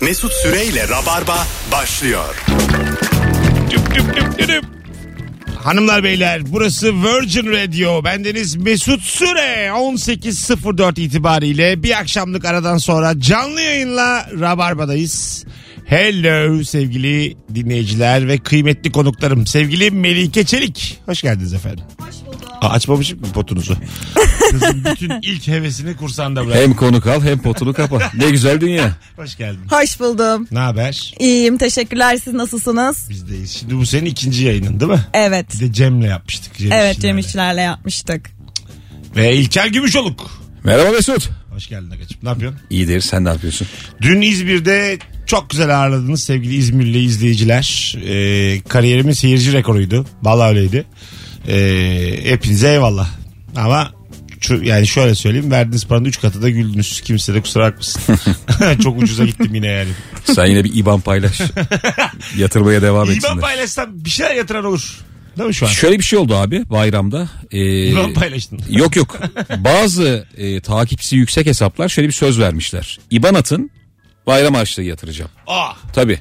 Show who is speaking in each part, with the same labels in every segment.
Speaker 1: Mesut Süreyle Rabarba başlıyor.
Speaker 2: Düp düp düp düp düp.
Speaker 3: Hanımlar beyler burası Virgin Radio. Bendeniz Mesut Süre 18.04 itibariyle bir akşamlık aradan sonra canlı yayınla Rabarba'dayız. Hello sevgili dinleyiciler ve kıymetli konuklarım. Sevgili Melike Çelik. Hoş geldiniz efendim. Aa, açmamışım mı potunuzu? Kızın bütün ilk hevesini kursanda bırak.
Speaker 4: Hem konuk al hem potunu kapa. Ne güzel dünya.
Speaker 3: Hoş geldin.
Speaker 5: Hoş buldum.
Speaker 3: Ne haber?
Speaker 5: İyiyim teşekkürler siz nasılsınız?
Speaker 3: Bizdeyiz. Şimdi bu senin ikinci yayının değil mi?
Speaker 5: Evet.
Speaker 3: Bir de Cem'le yapmıştık. Cem
Speaker 5: Evet
Speaker 3: İşçilerle.
Speaker 5: Cem İşçilerle yapmıştık.
Speaker 3: Ve İlker Gümüşoluk.
Speaker 4: Merhaba Mesut.
Speaker 3: Hoş geldin Agacığım. Ne yapıyorsun?
Speaker 4: İyidir sen ne yapıyorsun?
Speaker 3: Dün İzmir'de çok güzel ağırladınız sevgili İzmirli izleyiciler. Ee, kariyerimin seyirci rekoruydu. Vallahi öyleydi. Ee, hepinize eyvallah. Ama şu, yani şöyle söyleyeyim verdiğiniz paranın 3 katı da güldünüz. Kimse de kusura bakmasın. çok ucuza gittim yine yani.
Speaker 4: Sen yine bir IBAN paylaş. Yatırmaya devam
Speaker 3: İban
Speaker 4: etsinler.
Speaker 3: paylaşsam bir şeyler yatıran olur. Değil mi şu an?
Speaker 4: Şöyle bir şey oldu abi bayramda. Ee,
Speaker 3: İban paylaştın.
Speaker 4: Yok yok. Bazı e, takipçisi yüksek hesaplar şöyle bir söz vermişler. IBAN atın bayram harçlığı yatıracağım.
Speaker 3: Aa,
Speaker 4: Tabii.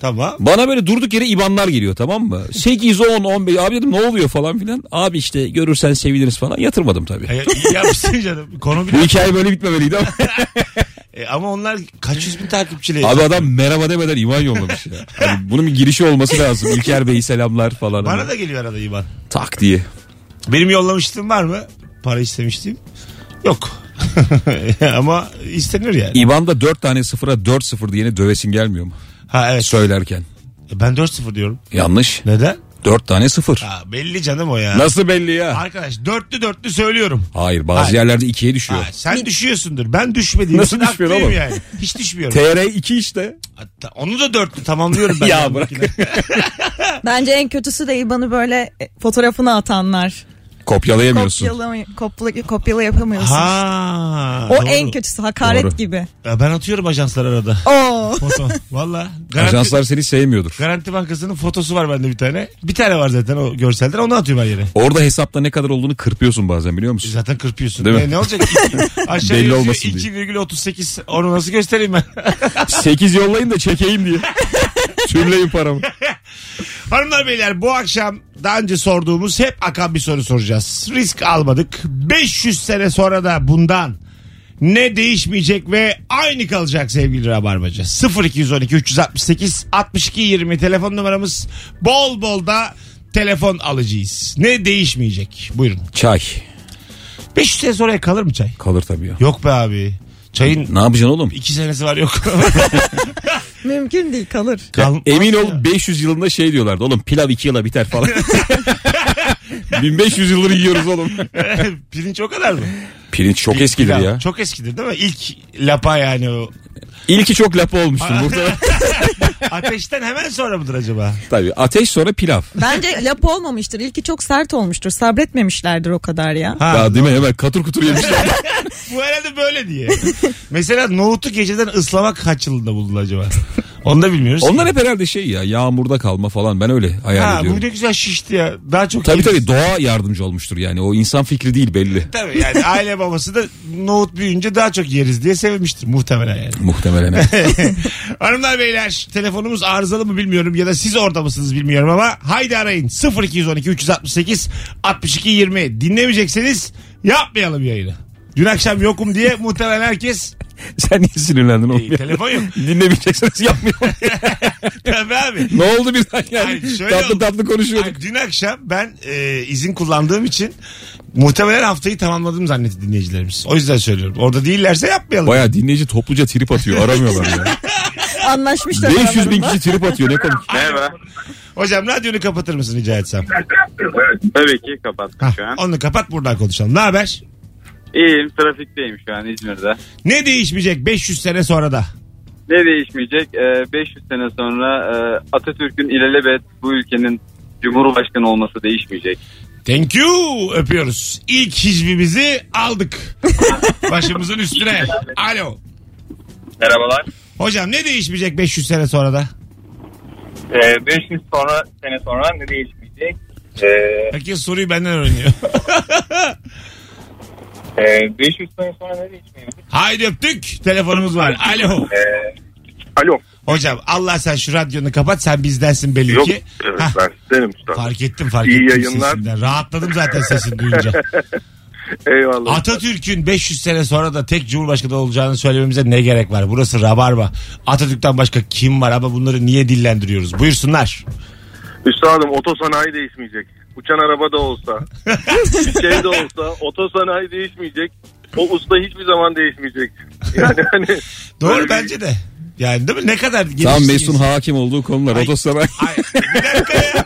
Speaker 3: tamam.
Speaker 4: Bana böyle durduk yere IBAN'lar geliyor tamam mı? 8, 10, 15 abi dedim ne oluyor falan filan. Abi işte görürsen seviniriz falan yatırmadım tabii.
Speaker 3: Ya, iyi yapmışsın E, canım. Konu bir...
Speaker 4: Bu hikaye böyle bitmemeliydi ama.
Speaker 3: E, ama onlar kaç yüz bin takipçili.
Speaker 4: Abi adam merhaba demeden İvan yollamış ya. Hani bunun bir girişi olması lazım. İlker Bey selamlar falan.
Speaker 3: Bana da geliyor arada İban.
Speaker 4: Tak diye.
Speaker 3: Benim yollamıştım var mı? Para istemiştim. Yok. Ama istenir yani.
Speaker 4: İvan'da 4 tane sıfıra 4 sıfır diyene dövesin gelmiyor mu?
Speaker 3: Ha evet.
Speaker 4: Söylerken.
Speaker 3: Ben 4-0 diyorum.
Speaker 4: Yanlış.
Speaker 3: Neden?
Speaker 4: 4 tane sıfır.
Speaker 3: Ha, belli canım o ya.
Speaker 4: Nasıl belli ya?
Speaker 3: Arkadaş dörtlü dörtlü söylüyorum.
Speaker 4: Hayır bazı
Speaker 3: Hayır.
Speaker 4: yerlerde 2'ye düşüyor.
Speaker 3: Ha, sen düşüyorsundur. Ben düşmediğim
Speaker 4: Nasıl
Speaker 3: için
Speaker 4: düşmüyor
Speaker 3: haklıyım
Speaker 4: oğlum?
Speaker 3: yani. Hiç düşmüyorum.
Speaker 4: TR 2 işte.
Speaker 3: Hatta onu da dörtlü tamamlıyorum ben.
Speaker 4: Ya
Speaker 3: yanımdakine.
Speaker 5: Bence en kötüsü de İban'ı böyle e, fotoğrafını atanlar.
Speaker 4: Kopyalayamıyorsun.
Speaker 5: Kopyalı, kopla- kopyala yapamıyorsun.
Speaker 3: Ha,
Speaker 5: o
Speaker 3: doğru.
Speaker 5: en kötüsü hakaret
Speaker 4: Doğru.
Speaker 5: gibi.
Speaker 3: Ya Ben atıyorum ajanslar arada.
Speaker 5: Oo.
Speaker 3: Foto. Valla. Garanti,
Speaker 4: Ajanslar seni sevmiyordur.
Speaker 3: Garanti Bankası'nın fotosu var bende bir tane. Bir tane var zaten o görselden. Onu atıyorum her yere.
Speaker 4: Orada hesapta ne kadar olduğunu kırpıyorsun bazen biliyor musun?
Speaker 3: Zaten kırpıyorsun.
Speaker 4: Değil mi?
Speaker 3: E, ne olacak? Aşağı
Speaker 4: Belli
Speaker 3: Belli
Speaker 4: olmasın diye.
Speaker 3: 2,38 onu nasıl göstereyim ben?
Speaker 4: 8 yollayın da çekeyim diye. Tümleyin paramı.
Speaker 3: Hanımlar beyler bu akşam daha önce sorduğumuz hep akan bir soru soracağız. Risk almadık. 500 sene sonra da bundan ne değişmeyecek ve aynı kalacak sevgili Rabarbacı. 0212 368 62 20 telefon numaramız bol bol da telefon alacağız. Ne değişmeyecek? Buyurun.
Speaker 4: Çay.
Speaker 3: 500 sene sonra kalır mı çay?
Speaker 4: Kalır tabii ya.
Speaker 3: Yok be abi. Çayın
Speaker 4: Ne yapacaksın oğlum?
Speaker 3: iki senesi var yok.
Speaker 5: Mümkün değil kalır.
Speaker 3: Kal-
Speaker 4: Emin ol 500 yılında şey diyorlardı oğlum pilav 2 yıla biter falan. 1500 yıldır yiyoruz oğlum.
Speaker 3: Pirinç o kadar mı?
Speaker 4: Pirinç çok eskidir
Speaker 3: Pilav.
Speaker 4: ya.
Speaker 3: Çok eskidir değil mi? İlk lapa yani o.
Speaker 4: İlki çok lapa olmuştur burada.
Speaker 3: Ateşten hemen sonra mıdır acaba?
Speaker 4: Tabii ateş sonra pilav.
Speaker 5: Bence lap olmamıştır. İlki çok sert olmuştur. Sabretmemişlerdir o kadar ya.
Speaker 3: Ha,
Speaker 4: ya değil mi hemen katır kutur yemişler.
Speaker 3: Bu herhalde böyle diye. Mesela nohutu geceden ıslamak kaç yılında buldu acaba? Onu da bilmiyoruz.
Speaker 4: Onlar hep herhalde şey ya yağmurda kalma falan ben öyle hayal
Speaker 3: Ha, bu
Speaker 4: ediyorum.
Speaker 3: ne güzel şişti ya. Daha çok
Speaker 4: Tabii
Speaker 3: yeriz.
Speaker 4: tabii doğa yardımcı olmuştur yani o insan fikri değil belli.
Speaker 3: Tabii yani aile babası da nohut büyüyünce daha çok yeriz diye sevmiştir muhtemelen yani.
Speaker 4: Muhtemelen.
Speaker 3: Hanımlar beyler telefonumuz arızalı mı bilmiyorum ya da siz orada mısınız bilmiyorum ama haydi arayın 0212 368 62 20 dinlemeyecekseniz yapmayalım yayını. Dün akşam yokum diye muhtemelen herkes
Speaker 4: Sen niye sinirlendin oğlum?
Speaker 3: E, telefon yok.
Speaker 4: Dinlemeyeceksiniz yapmıyorum.
Speaker 3: tabii abi.
Speaker 4: ne oldu birden yani?
Speaker 3: Ay, şöyle
Speaker 4: tatlı
Speaker 3: oldu.
Speaker 4: tatlı konuşuyorduk.
Speaker 3: Ay, dün akşam ben e, izin kullandığım için muhtemelen haftayı tamamladım zannetti dinleyicilerimiz. O yüzden söylüyorum. Orada değillerse yapmayalım.
Speaker 4: Baya dinleyici topluca trip atıyor aramıyorlar ya.
Speaker 5: Anlaşmışlar.
Speaker 4: 500 bin
Speaker 5: aralarında.
Speaker 4: kişi trip atıyor ne komik.
Speaker 6: Merhaba.
Speaker 3: Hocam radyonu kapatır mısın rica etsem?
Speaker 6: Tabii ki kapattım
Speaker 3: Hah,
Speaker 6: şu an.
Speaker 3: onu kapat buradan konuşalım. Ne haber?
Speaker 6: İyiyim trafikteyim şu an İzmir'de.
Speaker 3: Ne değişmeyecek 500 sene sonra da?
Speaker 6: Ne değişmeyecek? Ee, 500 sene sonra e, Atatürk'ün ilelebet bu ülkenin Cumhurbaşkanı olması değişmeyecek.
Speaker 3: Thank you. Öpüyoruz. İlk hicvimizi aldık. Başımızın üstüne. Alo.
Speaker 7: Merhabalar.
Speaker 3: Hocam ne değişmeyecek 500 sene sonra da?
Speaker 7: Ee, 500 sonra sene sonra ne değişmeyecek? Ee,
Speaker 3: Herkes soruyu benden öğreniyor.
Speaker 7: e, 500 sene sonra ne değişmeyecek?
Speaker 3: Haydi öptük. Telefonumuz var. Alo.
Speaker 7: Ee,
Speaker 8: Alo.
Speaker 3: Hocam Allah sen şu radyonu kapat sen bizdensin belli
Speaker 8: Yok
Speaker 3: ki.
Speaker 8: evet,
Speaker 3: Hah,
Speaker 8: ben sizdenim usta.
Speaker 3: Fark ettim fark
Speaker 8: İyi
Speaker 3: ettim
Speaker 8: yayınlar.
Speaker 3: sesinden. Rahatladım zaten sesini duyunca.
Speaker 8: Eyvallah.
Speaker 3: Atatürk'ün 500 sene sonra da tek cumhurbaşkanı olacağını söylememize ne gerek var? Burası rabarba. Atatürk'ten başka kim var ama bunları niye dillendiriyoruz? Buyursunlar.
Speaker 8: Üstadım otosanayi değişmeyecek. Uçan araba da olsa, bir şey de olsa otosanayi değişmeyecek. O usta hiçbir zaman değişmeyecek. Yani hani
Speaker 3: Doğru
Speaker 8: Öyle.
Speaker 3: bence de. Yani değil mi? Ne kadar gelişti.
Speaker 4: Tam Mesut'un hakim olduğu konular.
Speaker 3: Ay.
Speaker 4: Otosaray.
Speaker 3: Ay, bir dakika ya.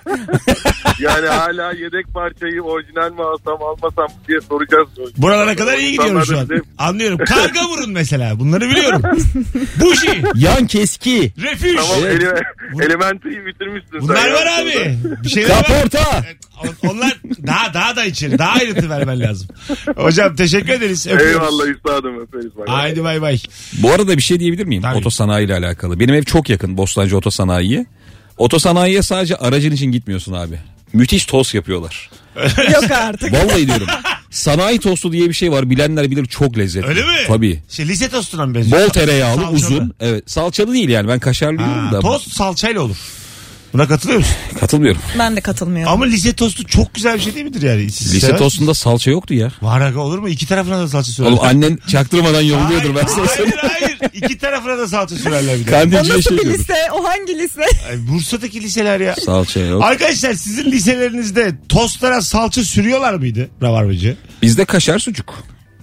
Speaker 8: yani hala yedek parçayı orijinal mi alsam almasam diye soracağız.
Speaker 3: Buralara kadar iyi gidiyorum şu an.
Speaker 8: İnsanlar bize-
Speaker 3: Anlıyorum. Karga vurun mesela. Bunları biliyorum. Buji,
Speaker 4: Yan keski.
Speaker 3: refüj.
Speaker 8: Tamam
Speaker 4: Evet.
Speaker 8: ele, elementiyi bitirmişsin sen
Speaker 3: Bunlar
Speaker 8: ya.
Speaker 3: var abi. Bir şeyler var.
Speaker 4: Kaporta.
Speaker 3: On- Onlar daha daha da içeri. Daha ayrıntı vermen lazım. Hocam teşekkür ederiz. Öpüyoruz.
Speaker 8: Eyvallah üstadım öperiz. bay bay.
Speaker 3: Haydi bay bay.
Speaker 4: Bu arada bir şey diyebilir miyim?
Speaker 3: Tabii.
Speaker 4: Otosanayi ile alakalı. Benim ev çok yakın Bostancı Otosanayi'ye. Otosanayiye sadece aracın için gitmiyorsun abi. Müthiş tost yapıyorlar.
Speaker 5: Yok artık.
Speaker 4: Vallahi diyorum. Sanayi tostu diye bir şey var. Bilenler bilir çok lezzetli.
Speaker 3: Öyle mi?
Speaker 4: Tabii.
Speaker 3: Şey, lise tostuna mı benziyor?
Speaker 4: Bol tereyağlı,
Speaker 3: Salçalı.
Speaker 4: uzun. Evet. Salçalı değil yani. Ben kaşarlı
Speaker 3: Ha,
Speaker 4: yiyorum da.
Speaker 3: tost salçayla olur. Buna katılıyor musun?
Speaker 4: Katılmıyorum.
Speaker 5: Ben de katılmıyorum.
Speaker 3: Ama lise tostu çok güzel bir şey değil midir yani? Siz
Speaker 4: Lise
Speaker 3: sever misiniz?
Speaker 4: tostunda salça yoktu ya.
Speaker 3: Var aga olur mu? İki tarafına da salça sürerler.
Speaker 4: Oğlum annen çaktırmadan yolluyordur ben sana
Speaker 3: hayır,
Speaker 4: söyleyeyim.
Speaker 3: hayır hayır. İki tarafına da salça sürerler bir de.
Speaker 5: o
Speaker 4: Kandilciye
Speaker 5: nasıl
Speaker 4: şey
Speaker 5: bir
Speaker 4: diyordur.
Speaker 5: lise? O hangi lise?
Speaker 3: Ay, Bursa'daki liseler ya.
Speaker 4: Salça yok.
Speaker 3: Arkadaşlar sizin liselerinizde tostlara salça sürüyorlar mıydı? Rabarbacı.
Speaker 4: Bizde kaşar sucuk.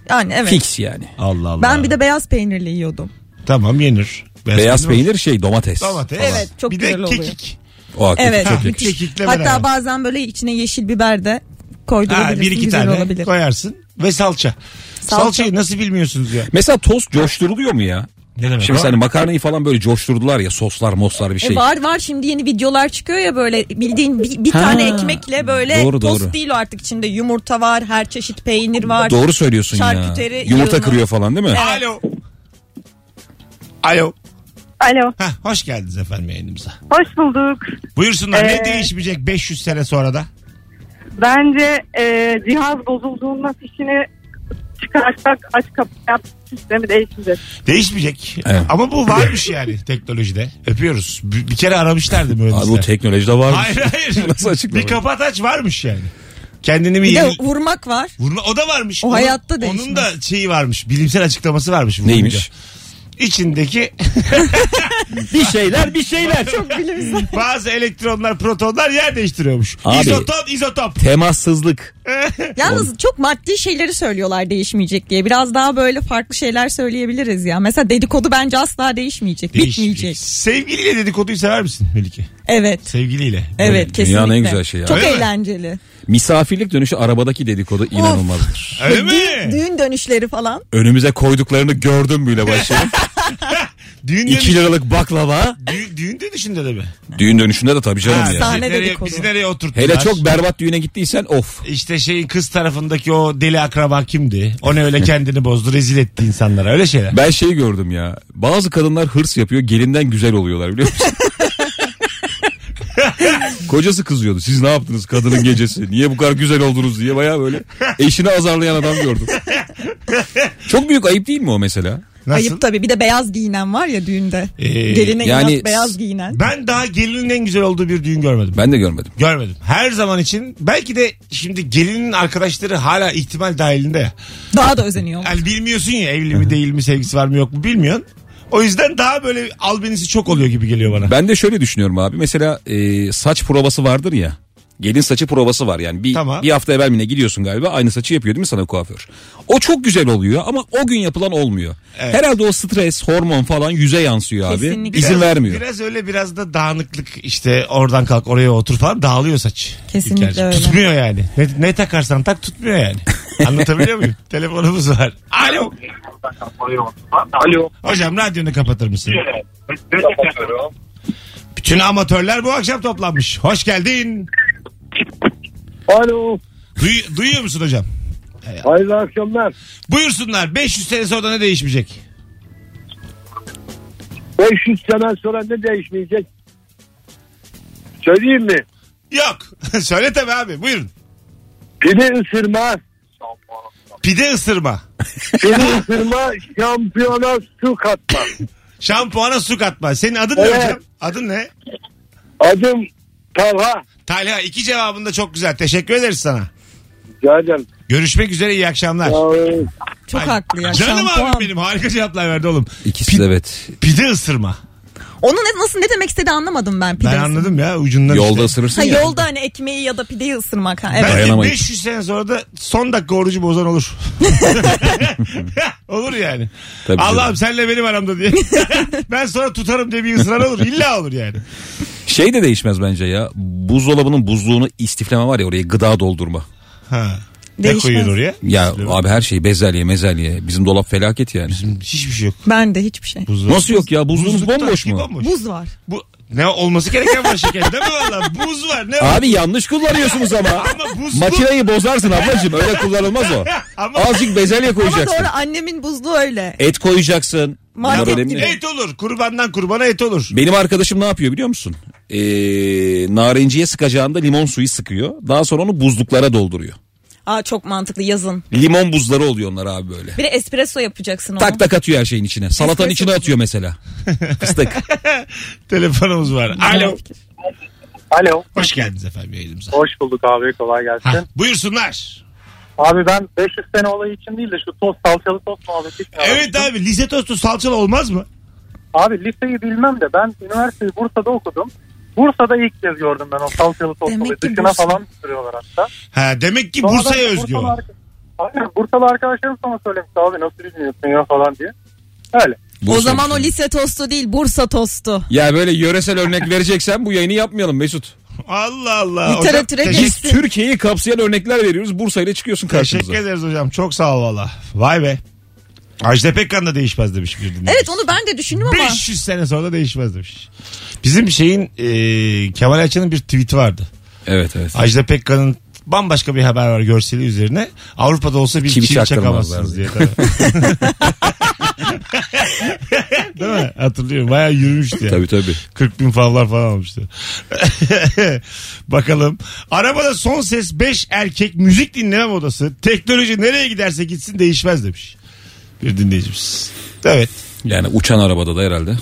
Speaker 5: Yani evet.
Speaker 4: Fix yani.
Speaker 3: Allah Allah.
Speaker 5: Ben bir de beyaz peynirli yiyordum.
Speaker 3: Tamam yenir.
Speaker 4: Beyaz peynir şey domates.
Speaker 3: Domates.
Speaker 5: Evet, çok
Speaker 3: bir
Speaker 5: güzel
Speaker 3: de
Speaker 5: oluyor.
Speaker 3: kekik.
Speaker 4: O hakikaten
Speaker 5: Evet.
Speaker 4: çok
Speaker 3: Ha,
Speaker 4: yakışır.
Speaker 3: kekikle
Speaker 5: Hatta
Speaker 3: beraber.
Speaker 5: bazen böyle içine yeşil biber de
Speaker 3: Ha,
Speaker 5: koydurabilirsin.
Speaker 3: bir iki
Speaker 5: Güzel
Speaker 3: tane
Speaker 5: olabilir.
Speaker 3: koyarsın ve salça.
Speaker 5: Salça.
Speaker 3: Salçayı nasıl bilmiyorsunuz ya?
Speaker 4: Mesela tost coşturuluyor mu ya?
Speaker 3: Ne demek
Speaker 4: Şimdi
Speaker 3: o?
Speaker 4: sen hani makarnayı falan böyle coşturdular ya soslar moslar bir şey.
Speaker 5: E var var şimdi yeni videolar çıkıyor ya böyle bildiğin bir, bir
Speaker 4: Ha.
Speaker 5: tane ekmekle böyle
Speaker 4: Doğru,
Speaker 5: tost
Speaker 4: doğru.
Speaker 5: değil o artık içinde yumurta var her çeşit peynir var.
Speaker 4: Doğru söylüyorsun ya.
Speaker 5: Şarküteri,
Speaker 4: Yumurta
Speaker 5: yığını.
Speaker 4: kırıyor falan değil mi?
Speaker 3: Alo. Alo.
Speaker 9: Alo.
Speaker 3: Heh, hoş geldiniz efendim yayınımıza.
Speaker 9: Hoş bulduk.
Speaker 3: Buyursunlar ne
Speaker 9: Ee,
Speaker 3: değişmeyecek 500 sene sonra da?
Speaker 9: Bence e, cihaz bozulduğunda fişini çıkarsak aç kapı yap sistemi değişmeyecek.
Speaker 3: Değişmeyecek.
Speaker 4: Evet.
Speaker 3: Ama bu varmış yani teknolojide. Öpüyoruz. Bir, bir kere aramışlardı
Speaker 4: Abi bu
Speaker 3: mühendisler.
Speaker 4: teknolojide var.
Speaker 3: hayır hayır.
Speaker 4: Nasıl açıklamıyor?
Speaker 3: Bir kapat aç varmış yani. Kendini mi
Speaker 5: Bir
Speaker 3: yeni...
Speaker 5: de vurmak var.
Speaker 3: Vurma, o da varmış.
Speaker 5: O
Speaker 3: Onun-
Speaker 5: hayatta
Speaker 3: Onun
Speaker 5: değişmez.
Speaker 3: da şeyi varmış. Bilimsel açıklaması varmış. vurunca.
Speaker 4: Neymiş?
Speaker 3: İçindeki
Speaker 4: bir şeyler bir şeyler.
Speaker 3: bazı elektronlar, protonlar yer değiştiriyormuş.
Speaker 4: Abi.
Speaker 3: İzotop, izotop.
Speaker 4: Temassızlık.
Speaker 5: Yalnız çok maddi şeyleri söylüyorlar değişmeyecek diye. Biraz daha böyle farklı şeyler söyleyebiliriz ya. Mesela dedikodu bence asla değişmeyecek,
Speaker 4: şey.
Speaker 5: bitmeyecek.
Speaker 3: Sevgiliyle dedikoduyu sever misin Melike?
Speaker 5: Evet.
Speaker 3: Sevgiliyle.
Speaker 5: Evet
Speaker 4: Dünya
Speaker 5: kesinlikle.
Speaker 4: ne güzel şey ya.
Speaker 5: Çok
Speaker 3: Öyle mi?
Speaker 5: eğlenceli.
Speaker 4: Misafirlik dönüşü arabadaki dedikodu inanılmazdır.
Speaker 3: Öyle
Speaker 5: Ve
Speaker 3: mi?
Speaker 5: Düğün, düğün dönüşleri falan.
Speaker 4: Önümüze koyduklarını gördüm bile başlayalım.
Speaker 3: Düğün
Speaker 4: 2
Speaker 3: dönüş-
Speaker 4: liralık baklava.
Speaker 3: Düğün, düğün dönüşünde de mi?
Speaker 4: Düğün dönüşünde de tabii
Speaker 3: Ha,
Speaker 4: canım ya.
Speaker 5: sahne-
Speaker 3: bizi nereye,
Speaker 5: dedikodu.
Speaker 3: bizi nereye oturttular?
Speaker 4: Hele çok berbat düğüne gittiysen of.
Speaker 3: İşte şeyin kız tarafındaki o deli akraba kimdi? O ne öyle kendini bozdu rezil etti insanlara öyle şeyler.
Speaker 4: Ben şeyi gördüm ya. Bazı kadınlar hırs yapıyor. Gelinden güzel oluyorlar biliyor musun? Kocası kızıyordu. Siz ne yaptınız kadının gecesi? Niye bu kadar güzel oldunuz diye baya böyle eşini azarlayan adam gördüm. Çok büyük ayıp değil mi o mesela?
Speaker 3: Nasıl?
Speaker 5: Ayıp tabii. Bir de beyaz giyinen var ya düğünde.
Speaker 3: Ee,
Speaker 5: Geline
Speaker 4: yani-
Speaker 5: inat beyaz giyinen.
Speaker 3: Ben daha gelinin en güzel olduğu bir düğün görmedim.
Speaker 4: Ben de görmedim.
Speaker 3: Görmedim. Her zaman için belki de şimdi gelinin arkadaşları hala ihtimal dahilinde ya.
Speaker 5: Daha da özeniyor.
Speaker 3: Yani bilmiyorsun ya evli mi değil mi sevgisi var mı yok mu bilmiyorsun. O yüzden daha böyle albenisi çok oluyor gibi geliyor bana.
Speaker 4: Ben de şöyle düşünüyorum abi. Mesela e, saç provası vardır ya. Gelin saçı provası var yani. Bir,
Speaker 3: Tamam.
Speaker 4: bir hafta evvel mi ne gidiyorsun galiba aynı saçı yapıyor değil mi sana kuaför? O çok güzel oluyor ama o gün yapılan olmuyor.
Speaker 3: Evet.
Speaker 4: Herhalde o stres, hormon falan yüze yansıyor abi.
Speaker 5: Kesinlikle.
Speaker 4: İzin vermiyor.
Speaker 3: Biraz öyle biraz da dağınıklık işte oradan kalk oraya otur falan dağılıyor saç.
Speaker 5: Kesinlikle
Speaker 3: İlker'cim.
Speaker 5: öyle.
Speaker 3: Tutmuyor yani. Ne, ne takarsan tak tutmuyor yani. Anlatabiliyor muyum? Telefonumuz var. Alo.
Speaker 7: Alo.
Speaker 3: Hocam radyonu kapatır mısın? Bütün amatörler bu akşam toplanmış. Hoş geldin.
Speaker 7: Alo.
Speaker 3: Duy- duyuyor musun hocam?
Speaker 7: Hayırlı akşamlar.
Speaker 3: Buyursunlar 500 sene sonra ne değişmeyecek?
Speaker 7: 500 sene sonra ne değişmeyecek? Söyleyeyim mi?
Speaker 3: Yok. Söyle tabii abi buyurun.
Speaker 7: Pide ısırma.
Speaker 3: Pide ısırma.
Speaker 7: Pide ısırma şampiyona su katma.
Speaker 3: Şampuana su katma. Senin adın ne
Speaker 8: Evet.
Speaker 3: hocam? Adın ne?
Speaker 8: Adım Talha.
Speaker 3: Talha iki cevabın da çok güzel. Teşekkür ederiz sana.
Speaker 8: Rica ederim.
Speaker 3: Görüşmek üzere iyi akşamlar.
Speaker 8: Ee,
Speaker 5: Çok
Speaker 3: Ay,
Speaker 5: haklı ya.
Speaker 3: Canım
Speaker 5: şampuan.
Speaker 3: abim benim harika cevaplar verdi oğlum.
Speaker 4: İkisi de evet.
Speaker 3: Pide ısırma.
Speaker 5: Onu ne, nasıl ne demek istedi anladım ben
Speaker 3: Ben
Speaker 5: pidesi.
Speaker 3: anladım ya ucundan
Speaker 4: Yolda
Speaker 3: işte.
Speaker 4: ısırırsın
Speaker 5: Ha,
Speaker 4: ya.
Speaker 5: yolda hani ekmeği ya da pideyi ısırmak. Ha, evet.
Speaker 3: Ben de
Speaker 4: Dayanamayız.
Speaker 3: 500 sene sonra da son dakika orucu bozan olur. olur yani.
Speaker 4: Tabii
Speaker 3: Allah'ım senle benim aramda diye. ben sonra tutarım diye bir ısrar olur. İlla olur yani.
Speaker 4: Şey de değişmez bence ya. Buzdolabının buzluğunu istifleme var ya oraya gıda doldurma.
Speaker 3: Ha. Ne
Speaker 5: Değişmez.
Speaker 3: koyuyor oraya?
Speaker 4: Ya
Speaker 3: Üstüne.
Speaker 4: abi her şey bezelye mezelye. Bizim dolap felaket yani.
Speaker 3: Hiçbir şey yok.
Speaker 5: Ben de hiçbir şey.
Speaker 3: Buzlu.
Speaker 4: Nasıl yok ya? Buzluğumuz
Speaker 3: Buzlukta
Speaker 4: bomboş
Speaker 3: ki
Speaker 4: mu?
Speaker 3: bomboş.
Speaker 5: Buz var.
Speaker 3: Bu, ne olması gereken var şeker değil mi valla? Buz var ne var?
Speaker 4: Abi yanlış kullanıyorsunuz ama.
Speaker 3: Ama buzluk-
Speaker 4: Makineyi bozarsın ablacığım. Öyle kullanılmaz o.
Speaker 3: Ama
Speaker 4: Azıcık bezelye
Speaker 5: Ama
Speaker 4: koyacaksın.
Speaker 5: doğru annemin buzluğu öyle.
Speaker 4: Et koyacaksın. Bunlar
Speaker 5: Market
Speaker 4: önemli.
Speaker 5: gibi.
Speaker 3: et olur. Kurbandan kurbana et olur.
Speaker 4: Benim arkadaşım ne yapıyor biliyor musun? Ee, narenciye sıkacağında limon suyu sıkıyor. Daha sonra onu buzluklara dolduruyor.
Speaker 5: Aa çok mantıklı yazın.
Speaker 4: Limon buzları oluyor onlar abi böyle.
Speaker 5: Bir de espresso yapacaksın onu.
Speaker 4: Tak tak atıyor her şeyin içine. Salatanın
Speaker 5: Espresso
Speaker 4: içine atıyor mesela. Fıstık.
Speaker 3: Telefonumuz var. Alo.
Speaker 7: Alo.
Speaker 3: Hoş geldiniz efendim yayınımıza.
Speaker 7: Hoş bulduk abi. Kolay
Speaker 3: Ha,
Speaker 7: gelsin.
Speaker 3: buyursunlar.
Speaker 7: Abi ben 500 sene olayı için değil de şu tost salçalı tost muhabbeti için
Speaker 3: Evet
Speaker 7: aramıştım.
Speaker 3: abi lise tostu salçalı olmaz mı?
Speaker 7: Abi liseyi bilmem de ben üniversiteyi Bursa'da okudum. Bursa'da ilk kez gördüm ben o salçalı tost
Speaker 5: Demek
Speaker 7: olayı.
Speaker 5: ki
Speaker 7: Dışına
Speaker 5: Bursa.
Speaker 7: falan sürüyorlar hatta.
Speaker 3: Ha demek ki
Speaker 7: Sonra
Speaker 3: Bursa'ya
Speaker 7: ben
Speaker 3: özgü
Speaker 7: Bursalı
Speaker 3: o.
Speaker 7: arka- Aynen Bursalı arkadaşlarım sana söylemişti abi nasıl bilmiyorsun ya falan diye. Öyle.
Speaker 5: o zaman o lise tostu değil Bursa tostu.
Speaker 4: Ya böyle yöresel örnek vereceksen bu yayını yapmayalım Mesut.
Speaker 3: Allah Allah.
Speaker 5: Literatüre
Speaker 3: Hocam,
Speaker 5: geç-
Speaker 4: Biz
Speaker 5: Kesin.
Speaker 4: Türkiye'yi kapsayan örnekler veriyoruz. Bursa ile çıkıyorsun
Speaker 3: Teşekkür
Speaker 4: karşımıza.
Speaker 3: ederiz hocam. Çok sağ ol valla. Vay be. Ajda Pekkan da değişmez demiş bir dinleyici.
Speaker 5: Evet onu ben de düşündüm ama.
Speaker 3: 500 sene sonra da değişmez demiş. Bizim şeyin e, Kemal Ayça'nın bir tweet'i vardı.
Speaker 4: Evet evet.
Speaker 3: Ajda Pekkan'ın bambaşka bir haber var görseli üzerine. Avrupa'da olsa bir
Speaker 4: Çivi
Speaker 3: çivi, çakamazsınız
Speaker 4: çaktırmazlar
Speaker 3: diye. tabii. Değil mi? Hatırlıyorum. Bayağı yürümüştü. Yani.
Speaker 4: Tabii tabii.
Speaker 3: 40 bin favlar falan almıştı. Bakalım. Arabada son ses 5 erkek müzik dinleme odası. Teknoloji nereye giderse gitsin değişmez demiş. Bir dinleyicimiz. Evet.
Speaker 4: Yani uçan arabada da herhalde.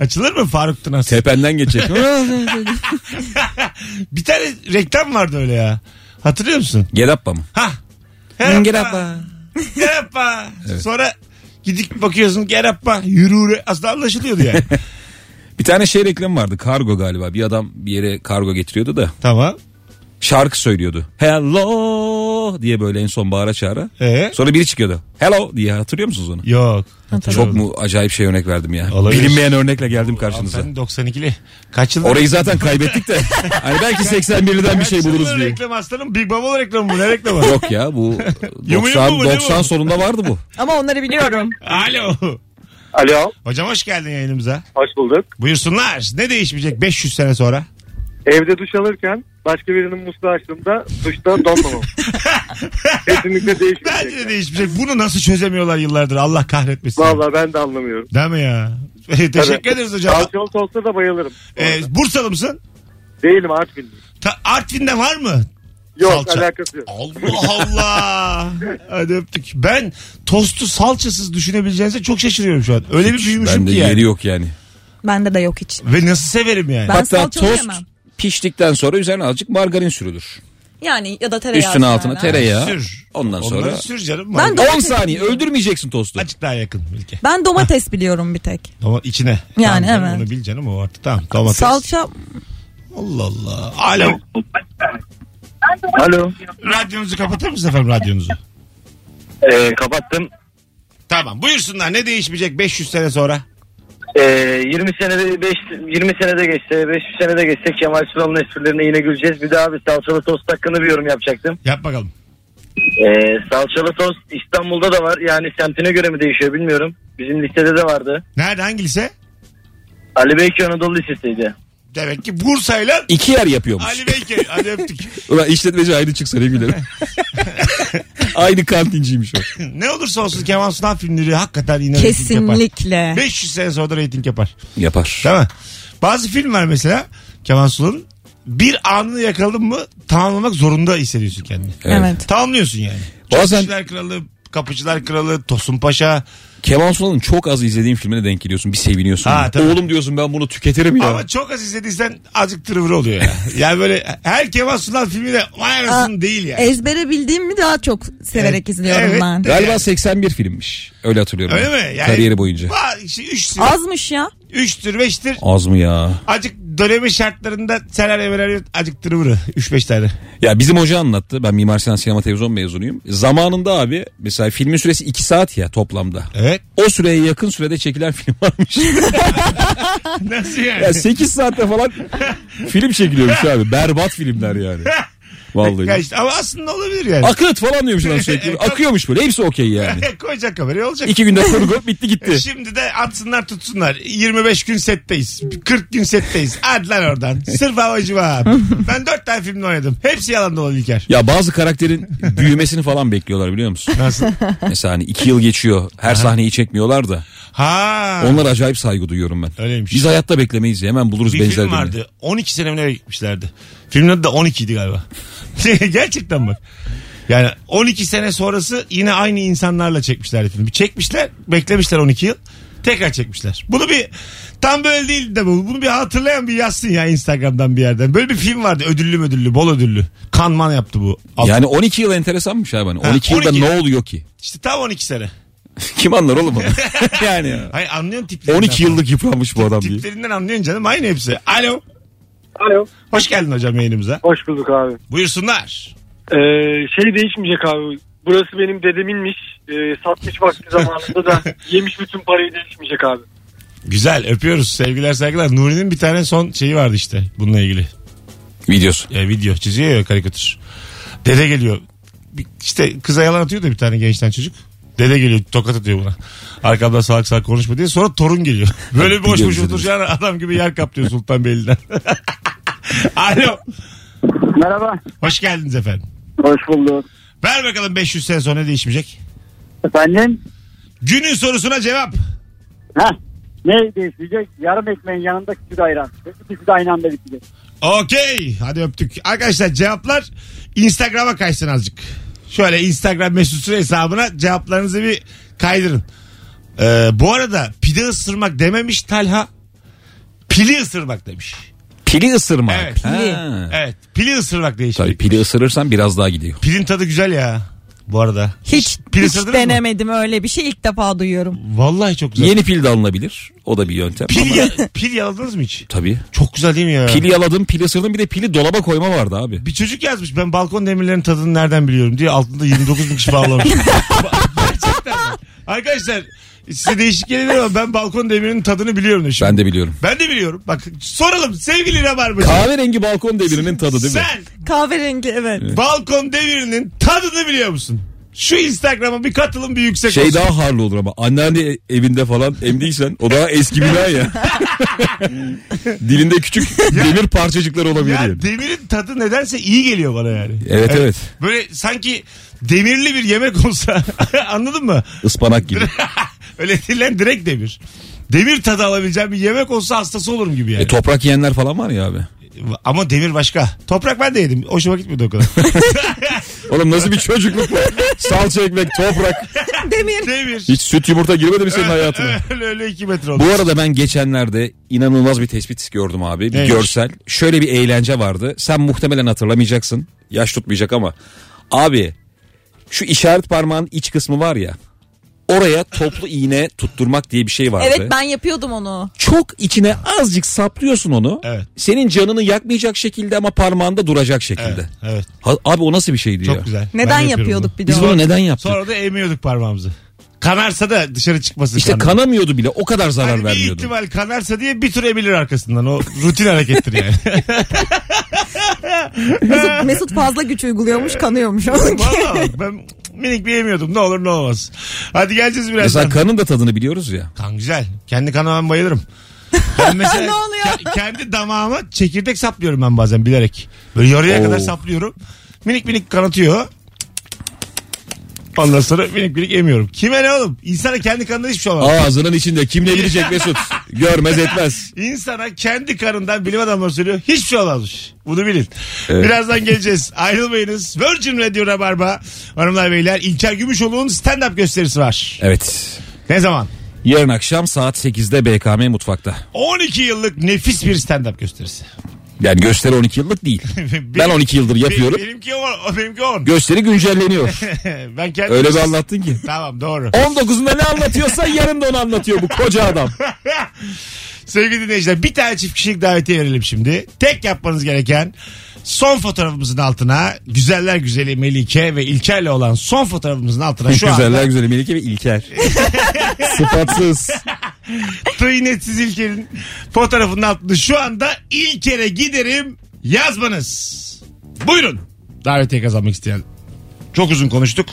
Speaker 3: Açılır mı Faruk Tınas?
Speaker 4: Tependen geçecek.
Speaker 3: Bir tane reklam vardı öyle ya. Hatırlıyor musun?
Speaker 4: Gedappa mı?
Speaker 3: Hah. Gerappa. Gerappa. Sonra gidip bakıyorsun gerappa. Yürü yürü. Aslında anlaşılıyordu yani.
Speaker 4: Bir tane şey reklamı vardı. Kargo galiba. Bir adam bir yere kargo getiriyordu da.
Speaker 3: tamam.
Speaker 4: Şarkı söylüyordu. Hello diye böyle en son bağıra çağıra.
Speaker 3: Ee?
Speaker 4: Sonra biri çıkıyordu. Hello diye hatırlıyor musunuz onu?
Speaker 3: Yok.
Speaker 4: Çok mu acayip şey örnek verdim ya.
Speaker 3: Olabilir.
Speaker 4: Bilinmeyen örnekle geldim karşınıza.
Speaker 3: Sen 92'li. Kaç yıl?
Speaker 4: Orayı zaten kaybettik de. Hani belki 81'den bir şey
Speaker 3: Kaç
Speaker 4: buluruz
Speaker 3: yılların
Speaker 4: diye.
Speaker 3: reklam aslanım Big Baba reklamı bu ne reklamı?
Speaker 4: Yok ya bu
Speaker 3: Yumu yumu
Speaker 4: 90,
Speaker 3: mu, ne
Speaker 4: 90
Speaker 3: bu?
Speaker 4: sonunda vardı bu.
Speaker 5: Ama onları biliyorum.
Speaker 3: Alo.
Speaker 8: Alo.
Speaker 3: Hocam hoş geldin yayınımıza.
Speaker 8: Hoş bulduk.
Speaker 3: Buyursunlar. Ne değişmeyecek 500 sene sonra?
Speaker 8: Evde duş alırken başka birinin musluğu açtığımda duşta donmamam. Kesinlikle
Speaker 3: Bence de
Speaker 8: değişmeyecek.
Speaker 3: değişmeyecek. Bunu nasıl çözemiyorlar yıllardır Allah kahretmesin.
Speaker 8: Valla ben de anlamıyorum.
Speaker 3: Değil mi ya? Teşekkür ederiz hocam.
Speaker 8: Salçalı tosta da bayılırım.
Speaker 3: Ee, Bursalı mısın?
Speaker 8: Değilim Artvinli.
Speaker 3: Ta- Artvin'de var mı?
Speaker 8: Yok
Speaker 3: Salça.
Speaker 8: alakası yok.
Speaker 3: Allah Allah. Hadi öptük. Ben tostu salçasız düşünebileceğinize çok şaşırıyorum şu an. Öyle bir büyümüşüm
Speaker 4: Bende
Speaker 3: ki
Speaker 4: yeri
Speaker 3: yani.
Speaker 4: yok yani.
Speaker 5: Bende de yok hiç.
Speaker 3: Ve nasıl severim yani.
Speaker 5: Ben
Speaker 4: Hatta
Speaker 5: salçalı
Speaker 4: tost
Speaker 5: yemem.
Speaker 4: piştikten sonra üzerine azıcık margarin sürülür.
Speaker 5: Yani ya da tereyağı.
Speaker 4: Üstüne altına
Speaker 5: üzerine.
Speaker 4: tereyağı.
Speaker 3: Sür.
Speaker 4: Ondan
Speaker 3: Onları
Speaker 4: sonra
Speaker 3: sür canım.
Speaker 5: Ben de-
Speaker 4: 10 saniye öldürmeyeceksin tostu.
Speaker 3: Azıcık daha yakın Bilge.
Speaker 5: Ben domates biliyorum bir tek.
Speaker 3: Ama içine.
Speaker 5: Yani
Speaker 3: tamam,
Speaker 5: evet.
Speaker 3: Onu bil canım o artık tamam. Domates.
Speaker 5: Salça
Speaker 3: Allah Allah. Alo.
Speaker 7: Alo.
Speaker 3: Radyonuzu kapatır mısın efendim radyonuzu?
Speaker 7: ee, kapattım.
Speaker 3: Tamam buyursunlar ne değişmeyecek 500 sene sonra?
Speaker 7: Ee, 20 senede 5 20 senede geçse 500 senede geçse Kemal Sunal'ın esprilerine yine güleceğiz. Bir daha bir salçalı tost hakkında bir yorum yapacaktım.
Speaker 3: Yap bakalım.
Speaker 7: Ee, salçalı tost İstanbul'da da var. Yani semtine göre mi değişiyor bilmiyorum. Bizim listede de vardı.
Speaker 3: Nerede hangi lise?
Speaker 7: Ali Beyköy Anadolu Lisesi'ydi.
Speaker 3: Demek ki Bursa'yla
Speaker 4: İki yer yapıyormuş.
Speaker 3: Ali Beyköy. Hadi öptük.
Speaker 4: Ulan işletmeci aynı çıksa ne gülerim. aynı kantinciymiş o.
Speaker 3: ne olursa olsun Kemal Sunal filmleri hakikaten yine reyting yapar.
Speaker 5: kesinlikle.
Speaker 3: 500 sene sonra da reyting yapar.
Speaker 4: Yapar.
Speaker 3: Değil mi? Bazı film var mesela Kemal Sunal'ın. Bir anını yakaladın mı tamamlamak zorunda hissediyorsun kendini.
Speaker 5: Evet.
Speaker 3: Tamamlıyorsun yani.
Speaker 4: Bazen-
Speaker 3: Çöpçüler Kralı, Kapıcılar Kralı, Tosun Paşa,
Speaker 4: Kemal Sunal'ın çok az izlediğim filmine denk geliyorsun. Bir seviniyorsun.
Speaker 3: Ha, tabii.
Speaker 4: Oğlum diyorsun ben bunu tüketirim ya.
Speaker 3: Ama çok az izlediysen azıcık tırvır oluyor ya. yani böyle her Kemal Sunal filmi de vay anasını
Speaker 5: Aa,
Speaker 3: değil yani.
Speaker 5: Ezbere bildiğimi daha çok severek
Speaker 3: Evet.
Speaker 5: izliyorum
Speaker 3: Evet.
Speaker 5: ben.
Speaker 4: Galiba 81 filmmiş. Öyle hatırlıyorum.
Speaker 3: Öyle
Speaker 4: ben.
Speaker 3: mi? Yani,
Speaker 4: Kariyeri boyunca.
Speaker 3: Ba- işte üçtür,
Speaker 5: Azmış ya.
Speaker 3: üçtür, beştir.
Speaker 4: Az mı ya?
Speaker 3: Acık dönemi şartlarında serer evler acık tırvırı. Üç beş tane.
Speaker 4: Ya bizim hoca anlattı. Ben Mimar Sinan Sinema Televizyon mezunuyum. Zamanında abi mesela filmin süresi 2 saat ya toplamda.
Speaker 3: Evet.
Speaker 4: O süreye yakın sürede çekilen film varmış.
Speaker 3: Nasıl yani?
Speaker 4: ya 8 saatte falan film çekiliyormuş abi. Berbat filmler yani.
Speaker 3: Ya
Speaker 4: Vallahi.
Speaker 3: işte, ama aslında olabilir yani.
Speaker 4: Akıt falan diyormuş lan sürekli. Akıyormuş böyle. Hepsi okey yani.
Speaker 3: Koyacak kamerayı olacak. E,
Speaker 4: İki günde kurgu bitti gitti.
Speaker 3: Şimdi de atsınlar tutsunlar. 25 gün setteyiz. 40 gün setteyiz. Hadi lan oradan. Sırf havacıma. Ben 4 tane filmde oynadım. Hepsi yalan dolu İlker.
Speaker 4: Ya bazı karakterin büyümesini falan bekliyorlar biliyor musun?
Speaker 3: Nasıl?
Speaker 4: Mesela hani iki yıl geçiyor. Her sahneyi çekmiyorlar da.
Speaker 3: Ha.
Speaker 4: Onlara acayip saygı duyuyorum ben.
Speaker 3: Öyleymiş.
Speaker 4: Biz hayatta beklemeyiz. ya, Hemen buluruz
Speaker 3: bir
Speaker 4: benzer
Speaker 3: film
Speaker 4: birini.
Speaker 3: vardı. 12 sene mi ne gitmişlerdi. Filmin adı da 12 idi galiba. Gerçekten bak. Yani 12 sene sonrası yine aynı insanlarla çekmişlerdi filmi. Çekmişler, beklemişler 12 yıl. Tekrar çekmişler. Bunu bir tam böyle değil de bu. Bunu bir hatırlayan bir yazsın ya Instagram'dan bir yerden. Böyle bir film vardı. Ödüllü ödüllü, bol ödüllü. Kanman yaptı bu. Alt-
Speaker 4: Yani 12 yıl enteresanmış abi. Hani
Speaker 3: Ha,
Speaker 4: 12 yılda
Speaker 3: 12.
Speaker 4: ne oluyor ki?
Speaker 3: İşte tam 12 sene.
Speaker 4: Kim anlar oğlum onu? yani
Speaker 3: Hayır anlıyorsun tiplerinden.
Speaker 4: 12 yıllık yıpranmış bu adam diye.
Speaker 3: Tiplerinden anlıyorsun canım. Aynı hepsi. Alo.
Speaker 7: Alo.
Speaker 3: Hoş geldin hocam yayınımıza.
Speaker 7: Hoş bulduk abi.
Speaker 3: Buyursunlar.
Speaker 7: Ee, şey değişmeyecek abi. Burası benim dedeminmiş. Ee, satmış vakti zamanında da yemiş bütün parayı değişmeyecek abi.
Speaker 3: Güzel öpüyoruz sevgiler saygılar. Nuri'nin bir tane son şeyi vardı işte bununla ilgili.
Speaker 4: Videosu.
Speaker 3: E, video çiziyor ya karikatür. Dede geliyor. Bir- İşte kıza yalan atıyor da bir tane gençten çocuk. Dede geliyor tokat atıyor buna. Arkamda salak salak konuşma diye. Sonra torun geliyor. Böyle boş boş
Speaker 4: Biliyorum,
Speaker 3: oturacağına adam gibi yer kaplıyor Sultanbeyli'den. Alo.
Speaker 7: Merhaba.
Speaker 3: Hoş geldiniz efendim.
Speaker 7: Hoş bulduk.
Speaker 3: Ver bakalım 500 sene sonra ne değişmeyecek?
Speaker 7: Efendim?
Speaker 3: Günün sorusuna cevap.
Speaker 7: Heh. Ne değişmeyecek? Yarım ekmeğin yanında küçük ayran. İkisi de aynı anda bitecek.
Speaker 3: Okey. Hadi öptük. Arkadaşlar cevaplar Instagram'a kaysın azıcık. Şöyle Instagram mesut süre hesabına cevaplarınızı bir kaydırın. Ee, bu arada pide ısırmak dememiş Talha. Pili ısırmak demiş.
Speaker 4: Pili ısırmak.
Speaker 3: Evet.
Speaker 4: Ha.
Speaker 3: Evet. Pili ısırmak değişik.
Speaker 4: Tabii pili ısırırsan biraz daha gidiyor.
Speaker 3: Pilin tadı güzel ya. Bu arada.
Speaker 5: Hiç,
Speaker 3: pil
Speaker 5: hiç
Speaker 3: ısırdınız mı?
Speaker 5: denemedim öyle bir şey ilk defa duyuyorum.
Speaker 3: Vallahi çok güzel.
Speaker 4: Yeni pil de alınabilir. O da bir yöntem.
Speaker 3: Pil,
Speaker 4: Ama-
Speaker 3: ya- pil yaladınız mı hiç?
Speaker 4: Tabii.
Speaker 3: Çok güzel değil mi ya?
Speaker 4: Pili yaladım, pili ısırdım. Bir de pili dolaba koyma vardı abi.
Speaker 3: Bir çocuk yazmış ben balkon demirlerinin tadını nereden biliyorum diye altında 29 bin kişi bağlamış. Ba- Gerçekten. bak. Arkadaşlar size değişik gelebilir ama ben balkon demirinin tadını biliyorum demiş.
Speaker 4: Ben de biliyorum.
Speaker 3: Ben de biliyorum. Bak soralım sevgili Rabarbacı.
Speaker 4: Kahverengi balkon devrinin tadı değil mi?
Speaker 3: Sen
Speaker 5: Kahverengi evet.
Speaker 3: balkon demirinin tadını biliyor musun? Şu Instagram'a bir katılım bir yüksek
Speaker 4: Şey
Speaker 3: olsun.
Speaker 4: daha harlı olur ama anneanne evinde falan emdiysen o daha eski bina ya. Dilinde küçük demir parçacıklar olabilir yani.
Speaker 3: ya demirin tadı nedense iyi geliyor bana yani.
Speaker 4: Evet evet.
Speaker 3: Böyle sanki demirli bir yemek olsa anladın mı?
Speaker 4: Ispanak gibi.
Speaker 3: Öyle değil lan direkt demir. Demir tadı alabileceğim bir yemek olsa hastası olurum gibi yani.
Speaker 4: E, toprak yiyenler falan var ya abi.
Speaker 3: Ama demir başka. Toprak ben de yedim. Hoşuma gitmedi o kadar.
Speaker 4: Oğlum nasıl bir çocukluk bu? Salça ekmek, toprak.
Speaker 5: Demir.
Speaker 3: demir.
Speaker 4: Hiç süt yumurta girmedi mi senin hayatına?
Speaker 3: öyle öyle iki metre oldu.
Speaker 4: Bu arada ben geçenlerde inanılmaz bir tespit gördüm abi. Bir
Speaker 3: Neymiş?
Speaker 4: görsel. Şöyle bir eğlence vardı. Sen muhtemelen hatırlamayacaksın. Yaş tutmayacak ama. Abi şu işaret parmağın iç kısmı var ya. Oraya toplu iğne tutturmak diye bir şey vardı.
Speaker 5: Evet ben yapıyordum onu.
Speaker 4: Çok içine azıcık saplıyorsun onu.
Speaker 3: Evet.
Speaker 4: Senin canını yakmayacak şekilde ama parmağında duracak şekilde.
Speaker 3: Evet, evet.
Speaker 4: Ha- abi o nasıl bir şeydi
Speaker 3: Çok
Speaker 4: ya?
Speaker 3: güzel.
Speaker 5: Neden
Speaker 3: Ben de yapıyorum
Speaker 5: yapıyorduk bir de
Speaker 4: Biz
Speaker 5: onu?
Speaker 4: bunu neden yaptık?
Speaker 3: Sonra da emiyorduk parmağımızı. Kanarsa da dışarı çıkmasın.
Speaker 4: İşte
Speaker 3: kanımız.
Speaker 4: kanamıyordu bile. O kadar zarar
Speaker 3: Hani bir
Speaker 4: vermiyordu.
Speaker 3: ihtimal kanarsa diye bir tur emilir arkasından. O rutin harekettir yani.
Speaker 5: Mesut, Mesut fazla güç uyguluyormuş kanıyormuş.
Speaker 3: Valla bak ben minik bir emiyordum. Ne olur ne olmaz. Hadi geleceğiz birazdan.
Speaker 4: Mesela kanın da tadını biliyoruz ya.
Speaker 3: Kan güzel. Kendi kanıma ben bayılırım. Ben mesela
Speaker 5: Ne oluyor?
Speaker 3: ke- kendi damağıma çekirdek saplıyorum ben bazen bilerek. Böyle yarıya
Speaker 4: Oo.
Speaker 3: kadar saplıyorum. Minik minik kanatıyor. Ondan sonra minik minik emiyorum. Kime ne oğlum? İnsana kendi kanında hiçbir şey olmaz.
Speaker 4: Ağzının içinde kim ne bilecek Mesut? Görmez etmez.
Speaker 3: İnsana kendi karından bilim adamları söylüyor. Hiçbir şey olmamış. Bunu bilin.
Speaker 4: Evet.
Speaker 3: Birazdan geleceğiz. Ayrılmayınız. Virgin Radio Rabarba. Hanımlar beyler İlker Gümüşoğlu'nun stand-up gösterisi var.
Speaker 4: Evet.
Speaker 3: Ne zaman?
Speaker 4: Yarın akşam saat 8'de BKM mutfakta.
Speaker 3: 12 yıllık nefis bir stand-up gösterisi.
Speaker 4: Yani gösteri 12 yıllık değil. ben
Speaker 3: Benim-
Speaker 4: 12 yıldır yapıyorum.
Speaker 3: Be- benimki 10. Benimki 10.
Speaker 4: Gösteri güncelleniyor.
Speaker 3: ben kendim...
Speaker 4: Öyle bir anlattın ki.
Speaker 3: Tamam doğru.
Speaker 4: 19'unda ne anlatıyorsa yarın da onu anlatıyor bu koca adam.
Speaker 3: Sevgili dinleyiciler bir tane çift kişilik davetiye verelim şimdi. Tek yapmanız gereken son fotoğrafımızın altına güzeller güzeli Melike ve İlker'le olan son fotoğrafımızın altına şu anda
Speaker 4: Güzeller güzeli Melike ve İlker. Sıfatsız.
Speaker 3: tıynetsiz İlker'in fotoğrafının altında şu anda İlker'e giderim yazmanız. Buyurun davetiye kazanmak isteyen. Çok uzun konuştuk.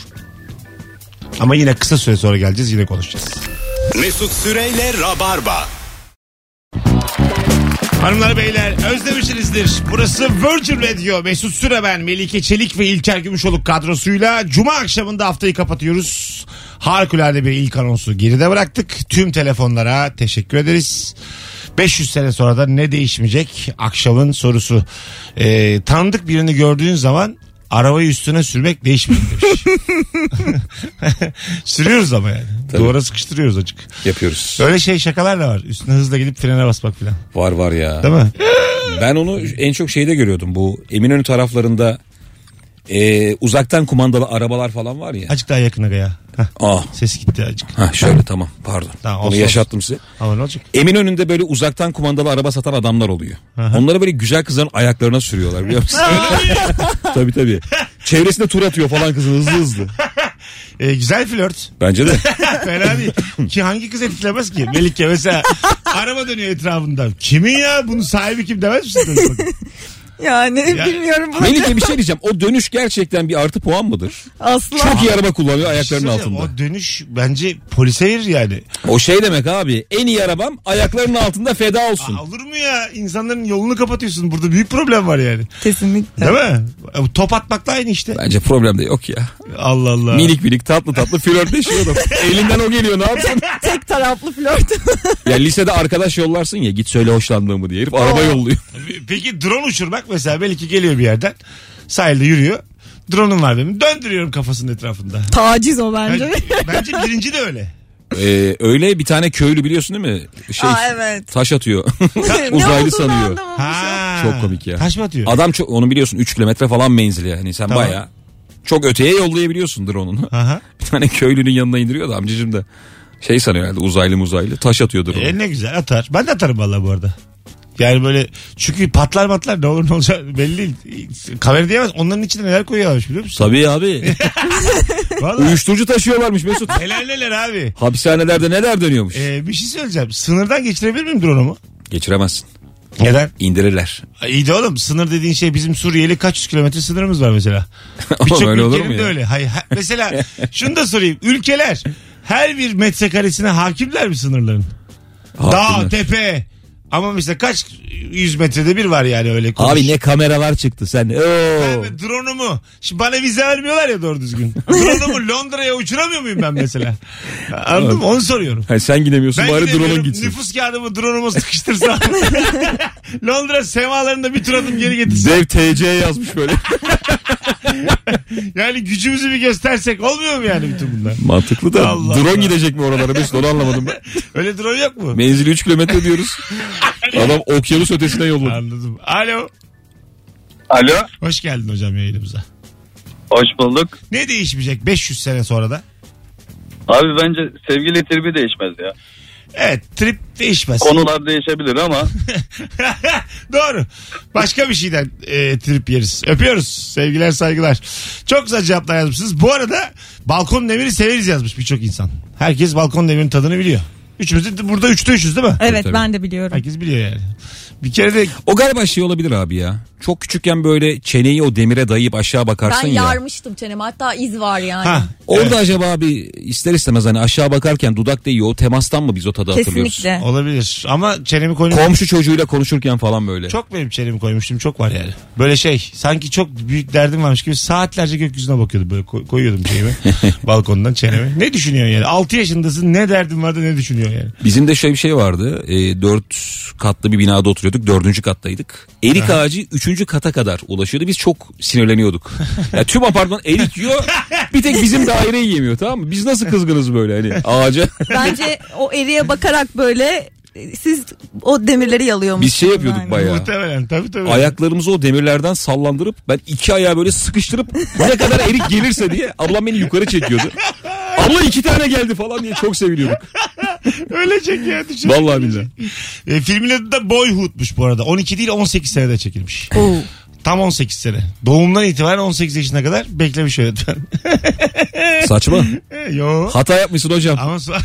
Speaker 3: Ama yine kısa süre sonra geleceğiz yine konuşacağız.
Speaker 1: Mesut Süreyle Rabarba.
Speaker 3: Hanımlar beyler özlemişsinizdir. Burası Virgin Radio. Mesut Süre ben. Melike Çelik ve İlker Gümüşoluk kadrosuyla Cuma akşamında haftayı kapatıyoruz. Harikulade bir ilk anonsu geride bıraktık. Tüm telefonlara teşekkür ederiz. 500 sene sonra da ne değişmeyecek akşamın sorusu. Ee, tanıdık birini gördüğün zaman arabayı üstüne sürmek değişmiyor demiş. Sürüyoruz ama yani. Duvara sıkıştırıyoruz açık.
Speaker 4: Yapıyoruz.
Speaker 3: Öyle şey şakalar da var. Üstüne hızla gidip frene basmak falan.
Speaker 4: Var var ya.
Speaker 3: Değil mi?
Speaker 4: Ben onu en çok şeyde görüyordum bu Eminönü taraflarında e, uzaktan kumandalı arabalar falan var ya.
Speaker 3: Azıcık daha yakına ya. Hah,
Speaker 4: Ah.
Speaker 3: ses gitti azıcık.
Speaker 4: Ha şöyle tamam pardon.
Speaker 3: Tamam,
Speaker 4: Onu
Speaker 3: olsun,
Speaker 4: yaşattım size.
Speaker 3: Ama ne olacak?
Speaker 4: Eminönü'nde böyle uzaktan kumandalı araba satan adamlar oluyor. Onları böyle güzel kızların ayaklarına sürüyorlar biliyor musun? tabii tabii. Çevresinde tur atıyor falan kızın hızlı hızlı.
Speaker 3: Ee, güzel flört.
Speaker 4: Bence de.
Speaker 3: Fena değil. Ki hangi kız etkilemez ki? Melike mesela araba dönüyor etrafında. Kimin ya? Bunun sahibi kim demez misin?
Speaker 5: Yani
Speaker 3: Ya-
Speaker 5: bilmiyorum bunu.
Speaker 4: Melike bir şey diyeceğim. O dönüş gerçekten bir artı puan mıdır?
Speaker 5: Asla.
Speaker 4: Çok iyi araba kullanıyor ayaklarının
Speaker 3: Düşünsene,
Speaker 4: altında.
Speaker 3: Şey O dönüş bence polise verir yani.
Speaker 4: O şey demek abi. En iyi arabam ayaklarının altında feda olsun.
Speaker 3: Aa, olur mu ya? İnsanların yolunu kapatıyorsun. Burada büyük problem var yani.
Speaker 5: Kesinlikle.
Speaker 3: Değil mi? Bu Top atmakla aynı işte.
Speaker 4: Bence problem de yok ya.
Speaker 3: Allah Allah.
Speaker 4: Minik minik tatlı tatlı flörtleşiyorum. Elinden o geliyor ne yapsın?
Speaker 5: Tek taraflı flört.
Speaker 4: ya lisede arkadaş yollarsın ya git söyle hoşlandığımı diye herif araba yolluyor.
Speaker 3: Peki drone uçurmak mesela belki geliyor bir yerden. Sahilde yürüyor. Drone'um var benim. Döndürüyorum kafasının etrafında.
Speaker 5: Taciz o bence.
Speaker 3: Bence, bence birinci de öyle.
Speaker 4: Ee, öyle bir tane köylü biliyorsun değil mi? Şey,
Speaker 5: Aa, evet.
Speaker 4: Taş atıyor.
Speaker 5: Ne
Speaker 4: Uzaylı
Speaker 5: olduğunu
Speaker 4: sanıyor.
Speaker 5: anlamamış.
Speaker 3: Ha.
Speaker 4: Çok komik ya.
Speaker 3: Taş mı atıyor?
Speaker 4: Adam çok onu biliyorsun 3 kilometre falan menzili yani sen
Speaker 3: Tamam.
Speaker 4: baya çok öteye yollayabiliyorsundur onu.
Speaker 3: Aha.
Speaker 4: bir tane köylünün yanına indiriyor da amcacım da şey sanıyor herhalde uzaylı muzaylı taş atıyordur onu.
Speaker 3: E ne güzel atar. Ben de atarım valla bu arada. Yani böyle çünkü patlar matlar ne olur ne olacak belli değil. Kamera diyemez. Onların içine neler koyuyorlarmış biliyor musun?
Speaker 4: Tabii abi.
Speaker 3: Valla.
Speaker 4: Uyuşturucu taşıyorlarmış Mesut.
Speaker 3: neler neler abi.
Speaker 4: Hapishanelerde neler dönüyormuş.
Speaker 3: Ee, bir şey söyleyeceğim. Sınırdan geçirebilir miyim drone'umu?
Speaker 4: Geçiremezsin.
Speaker 3: Neden?
Speaker 4: İndirirler.
Speaker 3: Ay, İyi de oğlum sınır dediğin şey bizim Suriyeli kaç yüz kilometre sınırımız var mesela. Birçok
Speaker 4: Oğlum öyle olur
Speaker 3: ülkenin
Speaker 4: mu
Speaker 3: de
Speaker 4: ya?
Speaker 3: öyle. Hayır, ha- mesela şunu da sorayım. Ülkeler her bir metrekaresine hakimler mi sınırların? Dağ,
Speaker 4: Hakimler.
Speaker 3: tepe. Ama mesela kaç yüz metrede bir var yani öyle. konuş.
Speaker 4: Abi ne kameralar çıktı sen. Oo.
Speaker 3: Ben drone'umu. Şimdi bana vize vermiyorlar ya doğru düzgün. drone'umu Londra'ya uçuramıyor muyum ben mesela? Anladın mı? Onu soruyorum.
Speaker 4: Ha, sen gidemiyorsun
Speaker 3: Ben
Speaker 4: bari
Speaker 3: gidemiyorum.
Speaker 4: drone'un gitsin.
Speaker 3: Nüfus kağıdımı drone'uma sıkıştırsam. Londra semalarında bir tur adım geri getirsin.
Speaker 4: Dev TC yazmış böyle.
Speaker 3: Yani gücümüzü bir göstersek olmuyor mu yani bütün bunlar?
Speaker 4: Mantıklı da
Speaker 3: Allah
Speaker 4: drone
Speaker 3: Allah.
Speaker 4: gidecek mi oralara Mesut onu anlamadım ben.
Speaker 3: Öyle drone yok mu?
Speaker 4: Menzili 3 kilometre diyoruz. Adam okyanus ötesine yolladı.
Speaker 3: Anladım. Alo.
Speaker 6: Alo.
Speaker 3: Hoş geldin hocam yayınımıza.
Speaker 6: Hoş bulduk.
Speaker 3: Ne değişmeyecek 500 sene sonra da?
Speaker 6: Abi bence sevgili tribi değişmez ya.
Speaker 3: Evet trip değişmez.
Speaker 6: Konular değişebilir ama
Speaker 3: Doğru. Başka bir şeyden e, trip yeriz. Öpüyoruz. Sevgiler saygılar. Çok güzel cevaplar yazmışsınız. Bu arada balkon demiri severiz yazmış birçok insan. Herkes balkon demirin tadını biliyor. Üçümüz de burada üçte üçüz değil mi?
Speaker 5: Evet
Speaker 4: tabii.
Speaker 5: ben de biliyorum.
Speaker 3: Herkes biliyor yani. Bir kere de
Speaker 4: O galiba şey olabilir abi ya. Çok küçükken böyle çeneyi o demire dayayıp aşağı bakarsın
Speaker 10: Ben
Speaker 4: ya.
Speaker 10: yarmıştım çenemi hatta iz var yani.
Speaker 3: ha,
Speaker 4: Orada acaba abi ister istemez hani aşağı bakarken dudak değiyor o temastan mı biz o tadı hatırlıyoruz?
Speaker 5: Kesinlikle.
Speaker 3: olabilir. Ama çenemi koymuş.
Speaker 4: Komşu çocuğuyla konuşurken falan böyle.
Speaker 3: çok benim çenemi koymuştum. Çok var yani. Böyle şey sanki çok büyük derdim varmış gibi saatlerce gökyüzüne bakıyordum. Böyle koy- koyuyordum şeyimi. balkondan çenemi. Ne düşünüyorsun yani? 6 yaşındasın ne derdin var da ne düşünüyorsun yani?
Speaker 4: Bizim de şöyle bir şey vardı. E, dört katlı bir binada oturuyorduk. Dördüncü kattaydık. Erik ağacı üçüncü kata kadar ulaşıyordu. Biz çok sinirleniyorduk. Ya tüm apartman erik yiyor. Bir tek bizim daire yiyemiyor tamam mı? Biz nasıl kızgınız böyle hani ağaca.
Speaker 10: Bence o eriye bakarak böyle e, siz o demirleri yalıyormuşsunuz.
Speaker 4: Biz şey yapıyorduk
Speaker 10: yani.
Speaker 4: bayağı.
Speaker 3: Muhtemelen tabii tabii.
Speaker 4: Ayaklarımızı o demirlerden sallandırıp ben iki ayağı böyle sıkıştırıp ne kadar erik gelirse diye ablam beni yukarı çekiyordu. Abla iki tane geldi falan diye çok seviniyorduk.
Speaker 3: Ölecek ya düşün.
Speaker 4: Vallahi billahi.
Speaker 3: E, filmin adı da Boyhood'muş bu arada. 12 değil 18 senede çekilmiş.
Speaker 10: Oo.
Speaker 3: Tam 18 sene. Doğumdan itibaren 18 yaşına kadar beklemiş öğretmen.
Speaker 4: Saçma.
Speaker 3: Yo.
Speaker 4: Hata yapmışsın hocam.
Speaker 3: Ama so-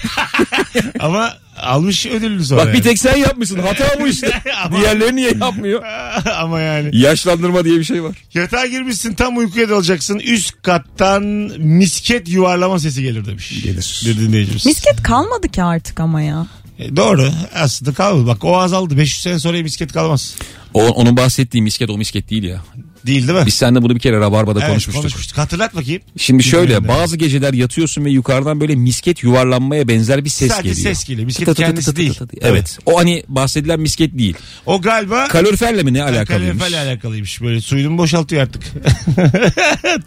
Speaker 3: ama almış ödülünü sonra.
Speaker 4: Bak bir tek sen yapmışsın. Hata bu işte.
Speaker 3: Ama-
Speaker 4: Diğerleri niye yapmıyor?
Speaker 3: yani. ama yani.
Speaker 4: Yaşlandırma diye bir şey var.
Speaker 3: Yatağa girmişsin tam uykuya dalacaksın. Üst kattan misket yuvarlama sesi gelir demiş.
Speaker 4: Gelir.
Speaker 3: Bir dinleyicimiz.
Speaker 5: Misket kalmadı ki artık ama ya.
Speaker 3: E, doğru. Aslında kalmadı. Bak o azaldı. 500 sene sonra misket kalmaz.
Speaker 4: O, onun bahsettiği misket o misket değil ya.
Speaker 3: Değil değil mi?
Speaker 4: Biz seninle bunu bir kere Rabarba'da
Speaker 3: Evet,
Speaker 4: konuşmuştuk.
Speaker 3: konuşmuştuk. Hatırlat bakayım.
Speaker 4: Şimdi şöyle
Speaker 3: Bilmiyorum ben.
Speaker 4: bazı geceler yatıyorsun ve yukarıdan böyle misket yuvarlanmaya benzer bir ses
Speaker 3: Sadece
Speaker 4: geliyor.
Speaker 3: ses geliyor. Misket
Speaker 4: Tı tı tı tı
Speaker 3: kendisi
Speaker 4: tı tı
Speaker 3: değil.
Speaker 4: tı tı. Evet. O hani bahsedilen misket değil.
Speaker 3: O galiba
Speaker 4: Kaloriferle mi ne alakalıymış?
Speaker 3: kaloriferle alakalıymış. Böyle suyunu mu boşaltıyor artık.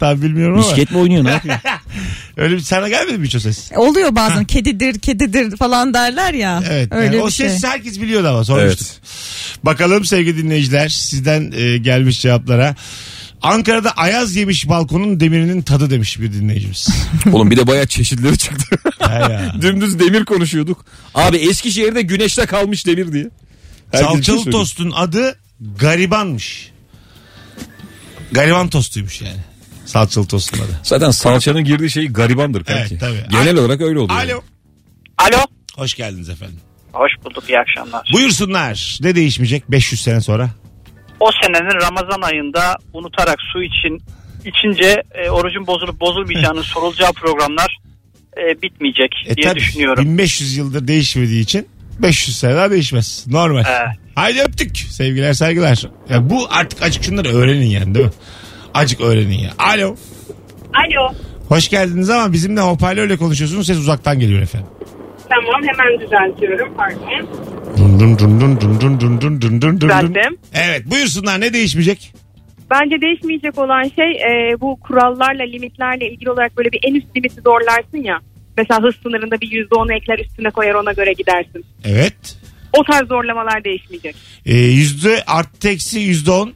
Speaker 3: Tam bilmiyorum ama.
Speaker 4: Misket mi oynuyor ne yapıyor?
Speaker 3: Öyle bir sana gelmedi mi hiç o ses?
Speaker 5: E, Oluyor bazen kedidir kedidir falan derler ya.
Speaker 3: Evet. yani
Speaker 5: Öyle bir
Speaker 3: o
Speaker 5: şey.
Speaker 3: ses herkes biliyordu ama sormuştuk. Bakalım sevgili dinleyiciler sizden e, gelmiş cevaplara. Ankara'da ayaz yemiş balkonun demirinin tadı demiş bir dinleyicimiz.
Speaker 4: Oğlum bir de bayağı çeşitleri çıktı.
Speaker 3: Ha ya.
Speaker 4: Dümdüz demir konuşuyorduk. Abi Eskişehir'de güneşte kalmış demir diye. Herkes bir şey
Speaker 3: Salçalı
Speaker 4: söylüyor.
Speaker 3: tostun adı garibanmış. Gariban tostuymuş yani. Salçalı tostun adı.
Speaker 4: Zaten salçanın girdiği şey garibandır kanki.
Speaker 3: Evet, tabii.
Speaker 4: Genel olarak öyle oluyor.
Speaker 3: Alo.
Speaker 11: Alo.
Speaker 3: Hoş geldiniz efendim.
Speaker 11: Hoş bulduk iyi akşamlar.
Speaker 3: Buyursunlar. Ne değişmeyecek 500 sene sonra?
Speaker 11: O senenin Ramazan ayında unutarak su için içince e, orucun bozulup bozulmayacağının sorulacağı programlar e, bitmeyecek
Speaker 3: E
Speaker 11: diye
Speaker 3: tabii,
Speaker 11: düşünüyorum.
Speaker 3: 1500 yıldır değişmediği için 500 sene daha değişmez. Normal.
Speaker 11: Evet.
Speaker 3: Haydi öptük. Sevgiler saygılar. Ya bu artık acık şunları öğrenin yani değil mi? Acık öğrenin ya. Alo.
Speaker 9: Alo.
Speaker 3: Hoş geldiniz ama bizimle hoparlörle konuşuyorsunuz. Ses uzaktan geliyor efendim.
Speaker 9: Tamam hemen düzeltiyorum pardon.
Speaker 3: Dun dun dun dun dun dun dun dun dun dun dun.
Speaker 9: Düzelttim.
Speaker 3: Evet buyursunlar ne değişmeyecek?
Speaker 9: Bence değişmeyecek olan şey e, bu kurallarla limitlerle ilgili olarak böyle bir en üst limiti zorlarsın ya. Mesela hız sınırında bir yüzde onu ekler üstüne koyar ona göre gidersin.
Speaker 3: Evet.
Speaker 9: O tarz zorlamalar değişmeyecek.
Speaker 3: Ee, yüzde artı eksi yüzde on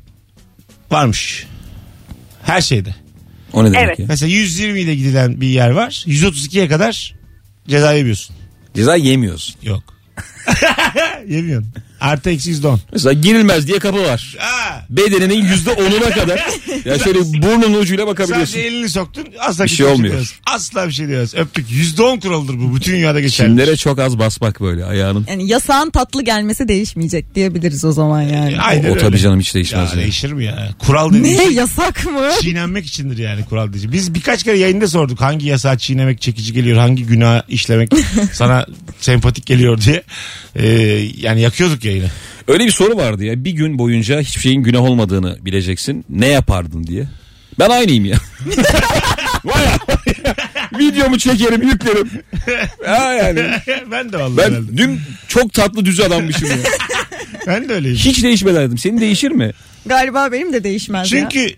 Speaker 3: varmış. Her şeyde.
Speaker 4: O ne demek
Speaker 9: Evet.
Speaker 4: ya?
Speaker 3: Mesela 120 ile gidilen bir yer var. 132'ye kadar ceza yemiyorsun.
Speaker 4: Ceza yemiyoruz.
Speaker 3: Yok. Yemiyorsun. Artı eksi yüzde on.
Speaker 4: Mesela girilmez diye kapı var.
Speaker 3: Aa,
Speaker 4: Bedeninin yüzde onuna kadar. Ya şöyle burnun ucuyla bakabiliyorsun.
Speaker 3: sadece elini soktun. Asla
Speaker 4: Bir şey olmuyor.
Speaker 3: diyoruz. Asla bir şey diyoruz. Öptük. Yüzde on kuralıdır bu. Bütün dünyada geçerli.
Speaker 4: Kimlere çok az basmak böyle ayağının.
Speaker 5: Yani yasağın tatlı gelmesi değişmeyecek diyebiliriz o zaman yani.
Speaker 3: Aynen
Speaker 4: o, o
Speaker 3: öyle.
Speaker 4: tabii canım hiç
Speaker 3: Ya,
Speaker 4: değişmez. ya.
Speaker 3: değişir mi ya? Kural dediğin
Speaker 5: Ne
Speaker 3: şey
Speaker 5: yasak mı?
Speaker 3: çiğnenmek içindir yani kural dediği. şey. Biz birkaç kere yayında sorduk hangi yasağı çiğnemek çekici geliyor, hangi günah işlemek sana sempatik geliyor diye. Ee, yani yakıyorduk yayını.
Speaker 4: Öyle bir soru vardı ya. Bir gün boyunca hiçbir şeyin günah olmadığını bileceksin. Ne yapardın diye. Ben aynıyım ya. Vay ya. Videomu çekerim yüklerim. Ha yani.
Speaker 3: ben de vallahi
Speaker 4: Ben
Speaker 3: herhalde.
Speaker 4: dün çok tatlı düz adammışım ya.
Speaker 3: Ben de öyleyim.
Speaker 4: Hiç değişmeden Senin değişir mi?
Speaker 5: Galiba benim de değişmez ya.
Speaker 3: Çünkü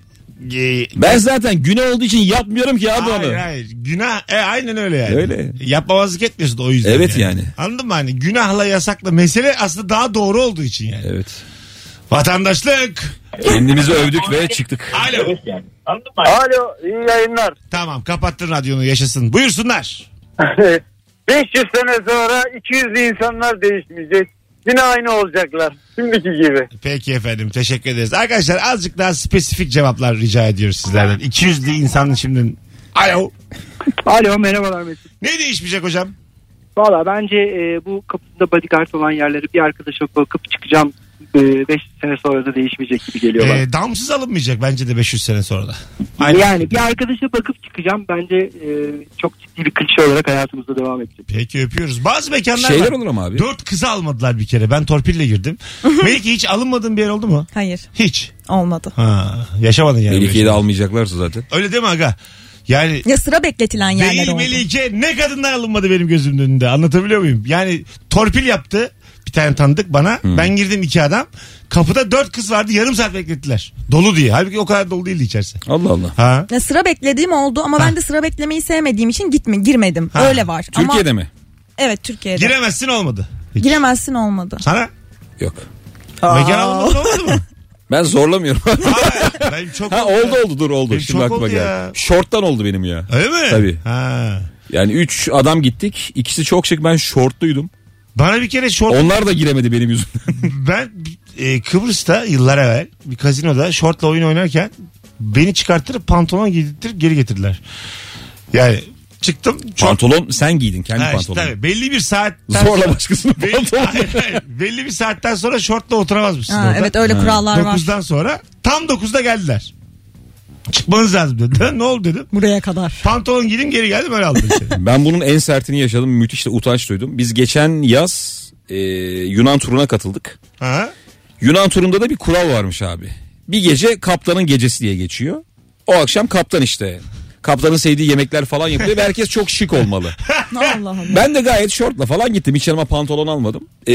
Speaker 3: e,
Speaker 4: Ben zaten günah olduğu için yapmıyorum ki abi
Speaker 3: Hayır
Speaker 4: onu.
Speaker 3: hayır. Günah e, aynen öyle yani.
Speaker 4: Öyle.
Speaker 3: Yapmamazlık etmiyorsun o yüzden.
Speaker 4: Evet yani.
Speaker 3: Anladın mı hani günahla yasakla mesele aslında daha doğru olduğu için yani.
Speaker 4: Evet.
Speaker 3: Vatandaşlık.
Speaker 4: Kendimizi övdük ve çıktık.
Speaker 3: Alo.
Speaker 7: Alo iyi yayınlar.
Speaker 3: Tamam kapattın radyonu yaşasın. Buyursunlar.
Speaker 7: 500 sene sonra 200'lü insanlar değişmeyecek. Yine aynı olacaklar. Şimdiki gibi.
Speaker 3: Peki efendim teşekkür ederiz. Arkadaşlar azıcık daha spesifik cevaplar rica ediyoruz sizlerden. 200'lü insan şimdi. Alo.
Speaker 12: Alo merhabalar Mesut.
Speaker 3: Ne değişmeyecek hocam?
Speaker 12: Valla bence e, bu kapısında bodyguard olan yerleri bir arkadaşa bakıp çıkacağım. 5 sene sonra da değişmeyecek gibi geliyor bana.
Speaker 3: Ee, damsız alınmayacak bence de 500 sene sonra da. Aynen.
Speaker 12: Yani bir arkadaşa bakıp çıkacağım bence e, çok ciddi bir klişe olarak hayatımızda devam edecek.
Speaker 3: Peki öpüyoruz. Bazı mekanlar
Speaker 4: Şeyler
Speaker 3: var.
Speaker 4: olur ama abi.
Speaker 3: Dört kızı almadılar bir kere. Ben torpille girdim. Melike hiç alınmadığın bir yer oldu mu?
Speaker 5: Hayır
Speaker 3: Hiç.
Speaker 5: olmadı.
Speaker 3: Ha, yaşamadın yani.
Speaker 4: Melike'yi de almayacaklarsa zaten.
Speaker 3: Öyle değil mi aga? Yani
Speaker 5: Ya sıra bekletilen yerler
Speaker 3: değil
Speaker 5: oldu.
Speaker 3: Melike ne kadınlar alınmadı benim gözümün önünde. Anlatabiliyor muyum? Yani torpil yaptı. Bir bir tane tanıdık bana. Ben girdim iki adam. Kapıda dört kız vardı yarım saat beklettiler. Dolu diye. Halbuki o kadar dolu değildi içerisi.
Speaker 4: Allah Allah.
Speaker 3: Ha.
Speaker 5: Ya sıra beklediğim oldu ama ben de sıra beklemeyi sevmediğim için gitme girmedim.
Speaker 3: Ha.
Speaker 5: Öyle var. ama,
Speaker 4: mi?
Speaker 5: Evet Türkiye'de.
Speaker 3: Giremezsin olmadı.
Speaker 5: Giremezsin olmadı.
Speaker 3: Sana?
Speaker 4: Yok.
Speaker 3: Mekan almadı olmadı mı?
Speaker 4: Ben zorlamıyorum.
Speaker 3: Benim çok
Speaker 4: ha oldu oldu dur oldu.
Speaker 3: Benim E,
Speaker 4: Şimdi
Speaker 3: çok
Speaker 4: aklıma
Speaker 3: oldu
Speaker 4: geldi.
Speaker 3: ya.
Speaker 4: Şorttan oldu benim ya.
Speaker 3: Öyle mi?
Speaker 4: Tabii.
Speaker 3: Ha.
Speaker 4: Yani 3 adam gittik. İkisi çok şık ben şortluydum.
Speaker 3: Bana bir kere şort...
Speaker 4: Onlar da giremedi benim yüzümden.
Speaker 3: Ben e, Kıbrıs'ta yıllar evvel bir kazinoda şortla oyun oynarken beni çıkarttırıp pantolon giydirttirip geri getirdiler. Yani çıktım. çok-
Speaker 4: Pantolon sen giydin kendi
Speaker 3: Ha, işte
Speaker 4: pantolonu.
Speaker 3: tabii. belli bir saatten
Speaker 4: Zorla
Speaker 3: sonra-
Speaker 4: başkasının
Speaker 3: belli, Hayır, hayır. belli bir saatten sonra şortla oturamaz mısın?
Speaker 5: Ha,
Speaker 3: orada?
Speaker 5: evet, öyle Ha. kurallar var.
Speaker 3: 9'dan sonra tam 9'da geldiler. Çıkmanız lazım dedi. ne oldu dedim.
Speaker 5: Buraya kadar.
Speaker 3: Pantolon giydim geri geldim öyle aldım. seni.
Speaker 4: Ben bunun en sertini yaşadım. Müthiş de utanç duydum. Biz geçen yaz e, Yunan turuna katıldık.
Speaker 3: Ha?
Speaker 4: Yunan turunda da bir kural varmış abi. Bir gece kaptanın gecesi diye geçiyor. O akşam kaptan işte. Kaptanın sevdiği yemekler falan yapıyor ve herkes çok şık olmalı.
Speaker 5: Allah Allah.
Speaker 4: Ben de gayet şortla falan gittim. Hiç yanıma pantolon almadım. Ee,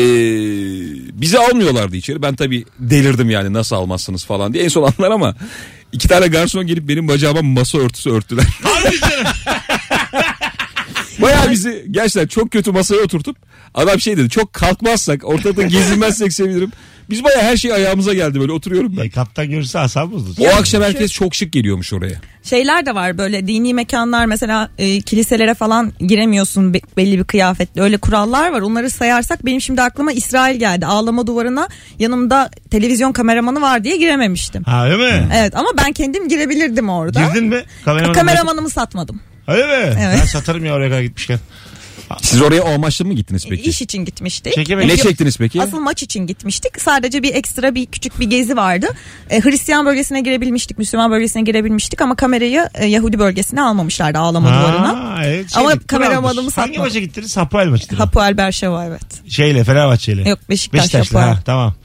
Speaker 4: bizi almıyorlardı içeri. Ben tabii delirdim yani nasıl almazsınız falan diye. En son anlar ama iki tane garson gelip benim bacağıma masa örtüsü örttüler. Bayağı bizi gerçekten çok kötü masaya oturtup adam şey dedi çok kalkmazsak ortalıkta gezinmezsek sevinirim. Biz bayağı her şey ayağımıza geldi böyle oturuyorum ben.
Speaker 3: Kaptan görürse asam bozulur.
Speaker 4: O akşam herkes çok şık geliyormuş oraya.
Speaker 5: Şeyler de var böyle dini mekanlar mesela e, kiliselere falan giremiyorsun be- belli bir kıyafetle. Öyle kurallar var. Onları sayarsak benim şimdi aklıma İsrail geldi. Ağlama duvarına yanımda televizyon kameramanı var diye girememiştim.
Speaker 3: Ha öyle mi?
Speaker 5: Evet ama ben kendim girebilirdim orada.
Speaker 3: Girdin mi? Kameramanı-
Speaker 5: Kameramanımı satmadım.
Speaker 3: Öyle mi?
Speaker 5: Evet.
Speaker 3: Ben satarım ya oraya kadar gitmişken.
Speaker 4: Siz oraya o amaçla mı gittiniz peki?
Speaker 5: İş için gitmiştik.
Speaker 4: Çekemedik. Ne çektiniz peki?
Speaker 5: Asıl maç için gitmiştik. Sadece bir ekstra bir küçük bir gezi vardı. E, Hristiyan bölgesine girebilmiştik, Müslüman bölgesine girebilmiştik ama kamerayı e, Yahudi bölgesine almamışlardı ağlama duvarına.
Speaker 3: Ha, e, şey evet,
Speaker 5: Ama
Speaker 3: gittin,
Speaker 5: kameramanımı
Speaker 3: almış. Hangi
Speaker 5: satmadım.
Speaker 3: maça gittiniz? Hapoel maçtı.
Speaker 5: Hapoel Berşeva evet.
Speaker 3: Şeyle Fenerbahçe'yle.
Speaker 5: Yok, Beşiktaş,
Speaker 3: Beşiktaş'la
Speaker 5: Hapoel.
Speaker 3: ha, tamam.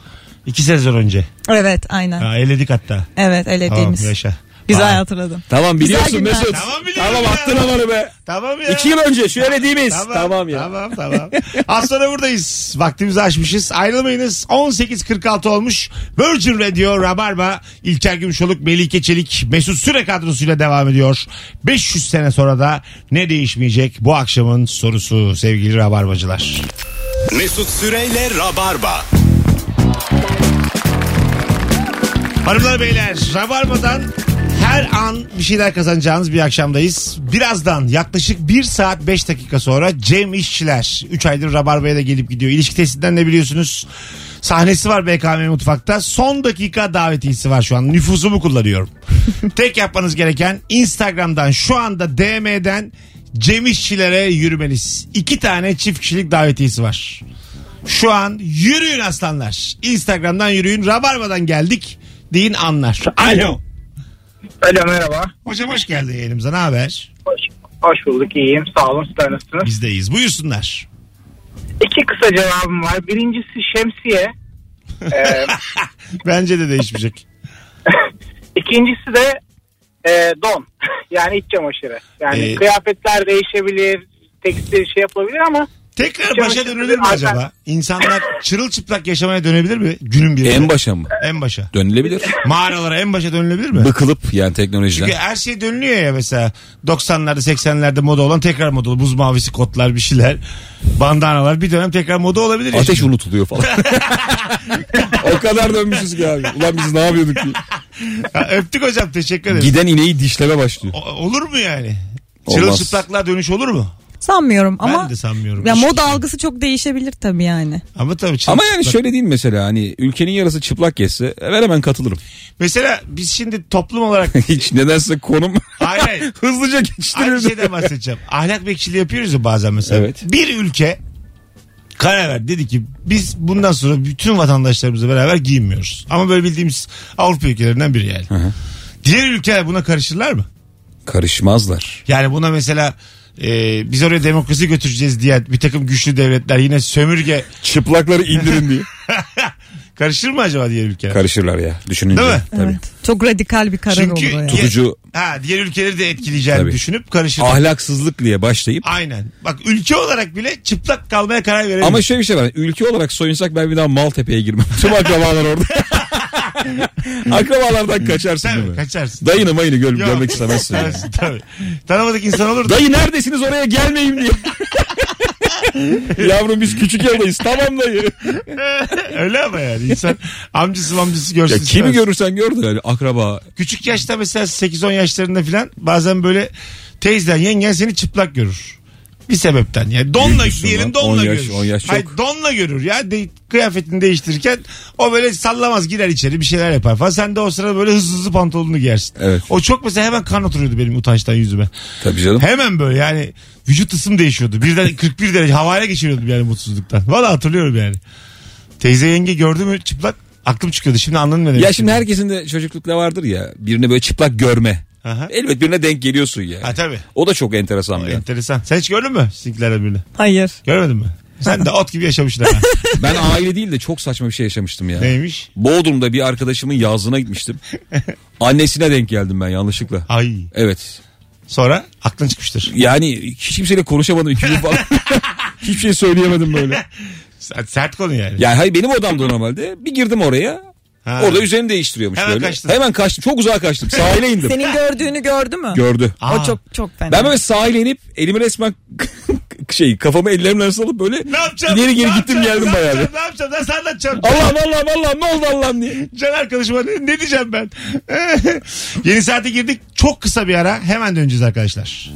Speaker 3: İki sezon önce.
Speaker 5: Evet aynen.
Speaker 3: Ha, eledik hatta.
Speaker 5: Evet
Speaker 3: Tamam
Speaker 5: elediğimiz.
Speaker 3: yaşa.
Speaker 5: Güzel
Speaker 3: Aa.
Speaker 5: hatırladım.
Speaker 4: Tamam
Speaker 5: Güzel
Speaker 4: biliyorsun
Speaker 5: günler.
Speaker 4: Mesut.
Speaker 3: Tamam biliyorum
Speaker 4: Tamam
Speaker 3: ya.
Speaker 4: attın havanı be.
Speaker 3: Tamam ya.
Speaker 4: İki yıl önce şöyle değil miyiz? Tamam, ya.
Speaker 3: Tamam tamam. Az sonra buradayız. Vaktimizi aşmışız. Ayrılmayınız. 18.46 olmuş. Virgin Radio Rabarba İlker Gümüşoluk, Melike Çelik, Mesut Süre kadrosuyla devam ediyor. 500 sene sonra da ne değişmeyecek bu akşamın sorusu sevgili Rabarbacılar.
Speaker 1: Mesut Süreyle Rabarba.
Speaker 3: Hanımlar beyler Rabarba'dan her an bir şeyler kazanacağınız bir akşamdayız. Birazdan yaklaşık 1 saat 5 dakika sonra Cem İşçiler 3 aydır Rabarba'ya da gelip gidiyor. İlişki testinden ne biliyorsunuz? Sahnesi var BKM Mutfak'ta. Son dakika davetiyesi var şu an. Nüfusumu kullanıyorum. Tek yapmanız gereken Instagram'dan şu anda DM'den Cem İşçilere yürümeniz. İki tane çift kişilik davetiyesi var. Şu an yürüyün aslanlar. Instagram'dan yürüyün. Rabarba'dan geldik deyin anlar. Alo.
Speaker 13: Alo merhaba.
Speaker 3: Hocam hoş geldin yayınımıza. Ne haber?
Speaker 13: Hoş bulduk iyiyim sağ olun sizler nasılsınız?
Speaker 3: Bizdeyiz. Buyursunlar.
Speaker 13: İki kısa cevabım var. Birincisi şemsiye. Ee,
Speaker 3: Bence de değişmeyecek.
Speaker 13: ikincisi de e, don. Yani iç çamaşırı. Yani
Speaker 3: Ee,
Speaker 13: kıyafetler değişebilir. Tekstil şey yapılabilir ama.
Speaker 3: Tekrar
Speaker 13: iç
Speaker 3: başa
Speaker 13: çamaşırı
Speaker 3: dönülür mü
Speaker 13: zaten-
Speaker 3: acaba? İnsanlar çırılçıplak yaşamaya dönebilir mi? Günün birinde.
Speaker 4: En başa mı?
Speaker 3: En başa.
Speaker 4: Dönülebilir.
Speaker 3: Mağaralara en başa dönülebilir mi?
Speaker 4: Bıkılıp yani teknolojiden.
Speaker 3: Çünkü her şey dönülüyor ya mesela 90'larda 80'lerde moda olan tekrar moda olur. Buz mavisi kotlar bir şeyler. Bandanalar bir dönem tekrar moda olabilir. ya
Speaker 4: Ateş
Speaker 3: şimdi.
Speaker 4: unutuluyor falan. o kadar dönmüşüz ki abi. Ulan biz ne yapıyorduk ki?
Speaker 3: Ha, Öptük hocam teşekkür ederim.
Speaker 4: Giden ineği dişleme başlıyor.
Speaker 3: O- olur mu yani?
Speaker 4: Olmaz.
Speaker 3: Çırılçıplaklığa dönüş olur mu?
Speaker 5: Sanmıyorum ama
Speaker 3: ben de sanmıyorum.
Speaker 5: ya moda algısı çok değişebilir tabii yani.
Speaker 3: Ama tabii
Speaker 4: Ama
Speaker 3: çırılçıplak-
Speaker 4: yani şöyle değil mesela hani ülkenin yarısı çıplak geçse e, ben hemen katılırım.
Speaker 3: Mesela biz şimdi toplum olarak
Speaker 4: Hiç nedense konum
Speaker 3: Hayır, hayır.
Speaker 4: hızlıca geçiştirir.
Speaker 3: Aynı şeyden bahsedeceğim. Ahlak bekçiliği yapıyoruz ya bazen mesela.
Speaker 4: Evet.
Speaker 3: Bir ülke karar verdi. Dedi ki biz bundan sonra bütün vatandaşlarımızla beraber giyinmiyoruz. Ama böyle bildiğimiz Avrupa ülkelerinden biri yani. Diğer ülkeler buna karışırlar mı?
Speaker 4: Karışmazlar.
Speaker 3: Yani buna mesela e, biz oraya demokrasi götüreceğiz diye bir takım güçlü devletler yine sömürge
Speaker 4: Çıplakları indirin diye.
Speaker 3: Karışır mı acaba diğer ülkeler?
Speaker 4: Karışırlar ya düşününce.
Speaker 3: Değil mi?
Speaker 4: Tabii.
Speaker 5: Çok radikal bir karar oldu.
Speaker 3: Çünkü
Speaker 5: yani.
Speaker 4: Tutucu.
Speaker 3: Ha, diğer ülkeleri de etkileyeceğini
Speaker 4: Tabii. Ah.
Speaker 3: düşünüp karışır.
Speaker 4: Ahlaksızlık diye başlayıp.
Speaker 3: Aynen. Bak ülke olarak bile çıplak kalmaya karar verebilir.
Speaker 4: Ama şöyle bir şey var. Ülke olarak soyunsak ben bir daha Maltepe'ye girmem. Tüm akrabalar orada. Akrabalardan kaçarsın değil mi?
Speaker 3: kaçarsın.
Speaker 4: Dayını mayını gör,
Speaker 3: Yok.
Speaker 4: görmek istemezsin. yani.
Speaker 3: Kaçarsın, Tabii. Tanımadık insan olur da.
Speaker 4: Dayı neredesiniz oraya gelmeyeyim diye. Yavrum biz küçük yoldayız. Tamam dayı.
Speaker 3: Öyle ama yani insan amcası amcası görsün.
Speaker 4: Ya kimi
Speaker 3: istemez.
Speaker 4: görürsen gör de yani akraba.
Speaker 3: Küçük yaşta mesela 8-10 yaşlarında falan bazen böyle teyzen yengen seni çıplak görür. Bir sebepten yani donla
Speaker 4: Büyüksün
Speaker 3: diyelim
Speaker 4: lan.
Speaker 3: donla
Speaker 4: 10 yaş-
Speaker 3: görür.
Speaker 4: 10 yaş
Speaker 3: Hayır, donla görür ya de, kıyafetini değiştirirken o böyle sallamaz girer içeri bir şeyler yapar falan. Sen de o sırada böyle hızlı hızlı pantolonunu giyersin.
Speaker 4: Evet.
Speaker 3: O çok mesela hemen kan oturuyordu benim utançtan yüzüme.
Speaker 4: Tabii canım.
Speaker 3: Hemen böyle yani vücut ısım değişiyordu. Birden 41 derece havale geçiriyordum yani mutsuzluktan. Valla hatırlıyorum yani. Teyze yenge gördü mü çıplak aklım çıkıyordu. Şimdi anladın mı?
Speaker 4: Ya şimdi herkesin de çocuklukta vardır ya birini böyle çıplak görme.
Speaker 3: Aha.
Speaker 4: Elbet birine denk geliyorsun ya.
Speaker 3: Ha tabii.
Speaker 4: O da çok enteresan bir an.
Speaker 3: Enteresan. Sen hiç gördün mü sizinkilerden birini?
Speaker 5: Hayır.
Speaker 3: Görmedin mi? Sen de ot gibi yaşamışsın ama.
Speaker 4: Ben aile değil de çok saçma bir şey yaşamıştım ya.
Speaker 3: Neymiş?
Speaker 4: Bodrum'da bir arkadaşımın yazlığına gitmiştim. Annesine denk geldim ben yanlışlıkla.
Speaker 3: Ay.
Speaker 4: Evet.
Speaker 3: Sonra aklın çıkmıştır.
Speaker 4: Yani hiç kimseyle konuşamadım. iki gün falan. Hiçbir şey söyleyemedim böyle.
Speaker 3: Sert, sert konu yani.
Speaker 4: Yani hayır benim odamda normalde. Bir girdim oraya.
Speaker 3: Ha.
Speaker 4: Orada üzerini değiştiriyormuş
Speaker 3: Hemen
Speaker 4: böyle.
Speaker 3: kaçtın.
Speaker 4: Hemen kaçtım. Çok uzağa kaçtım. Sahile indim.
Speaker 5: Senin gördüğünü gördü mü?
Speaker 4: Gördü.
Speaker 3: Aa.
Speaker 5: O çok çok fena.
Speaker 4: Ben böyle sahile inip elimi resmen şey kafamı ellerimin arasına alıp böyle
Speaker 3: Ne yapacağım?
Speaker 4: ileri
Speaker 3: Ne
Speaker 4: geri gittim
Speaker 3: yapacağım?
Speaker 4: geldim
Speaker 3: ne
Speaker 4: bayağı. bir.
Speaker 3: yapacağım? Ne yapacağım? Nasıl anlatacağım?
Speaker 4: Allah'ım Allah'ım Allah'ım ne oldu Allah'ım diye.
Speaker 3: Can arkadaşıma ne, ne diyeceğim ben? Yeni saate girdik. Çok kısa bir ara. Hemen döneceğiz arkadaşlar.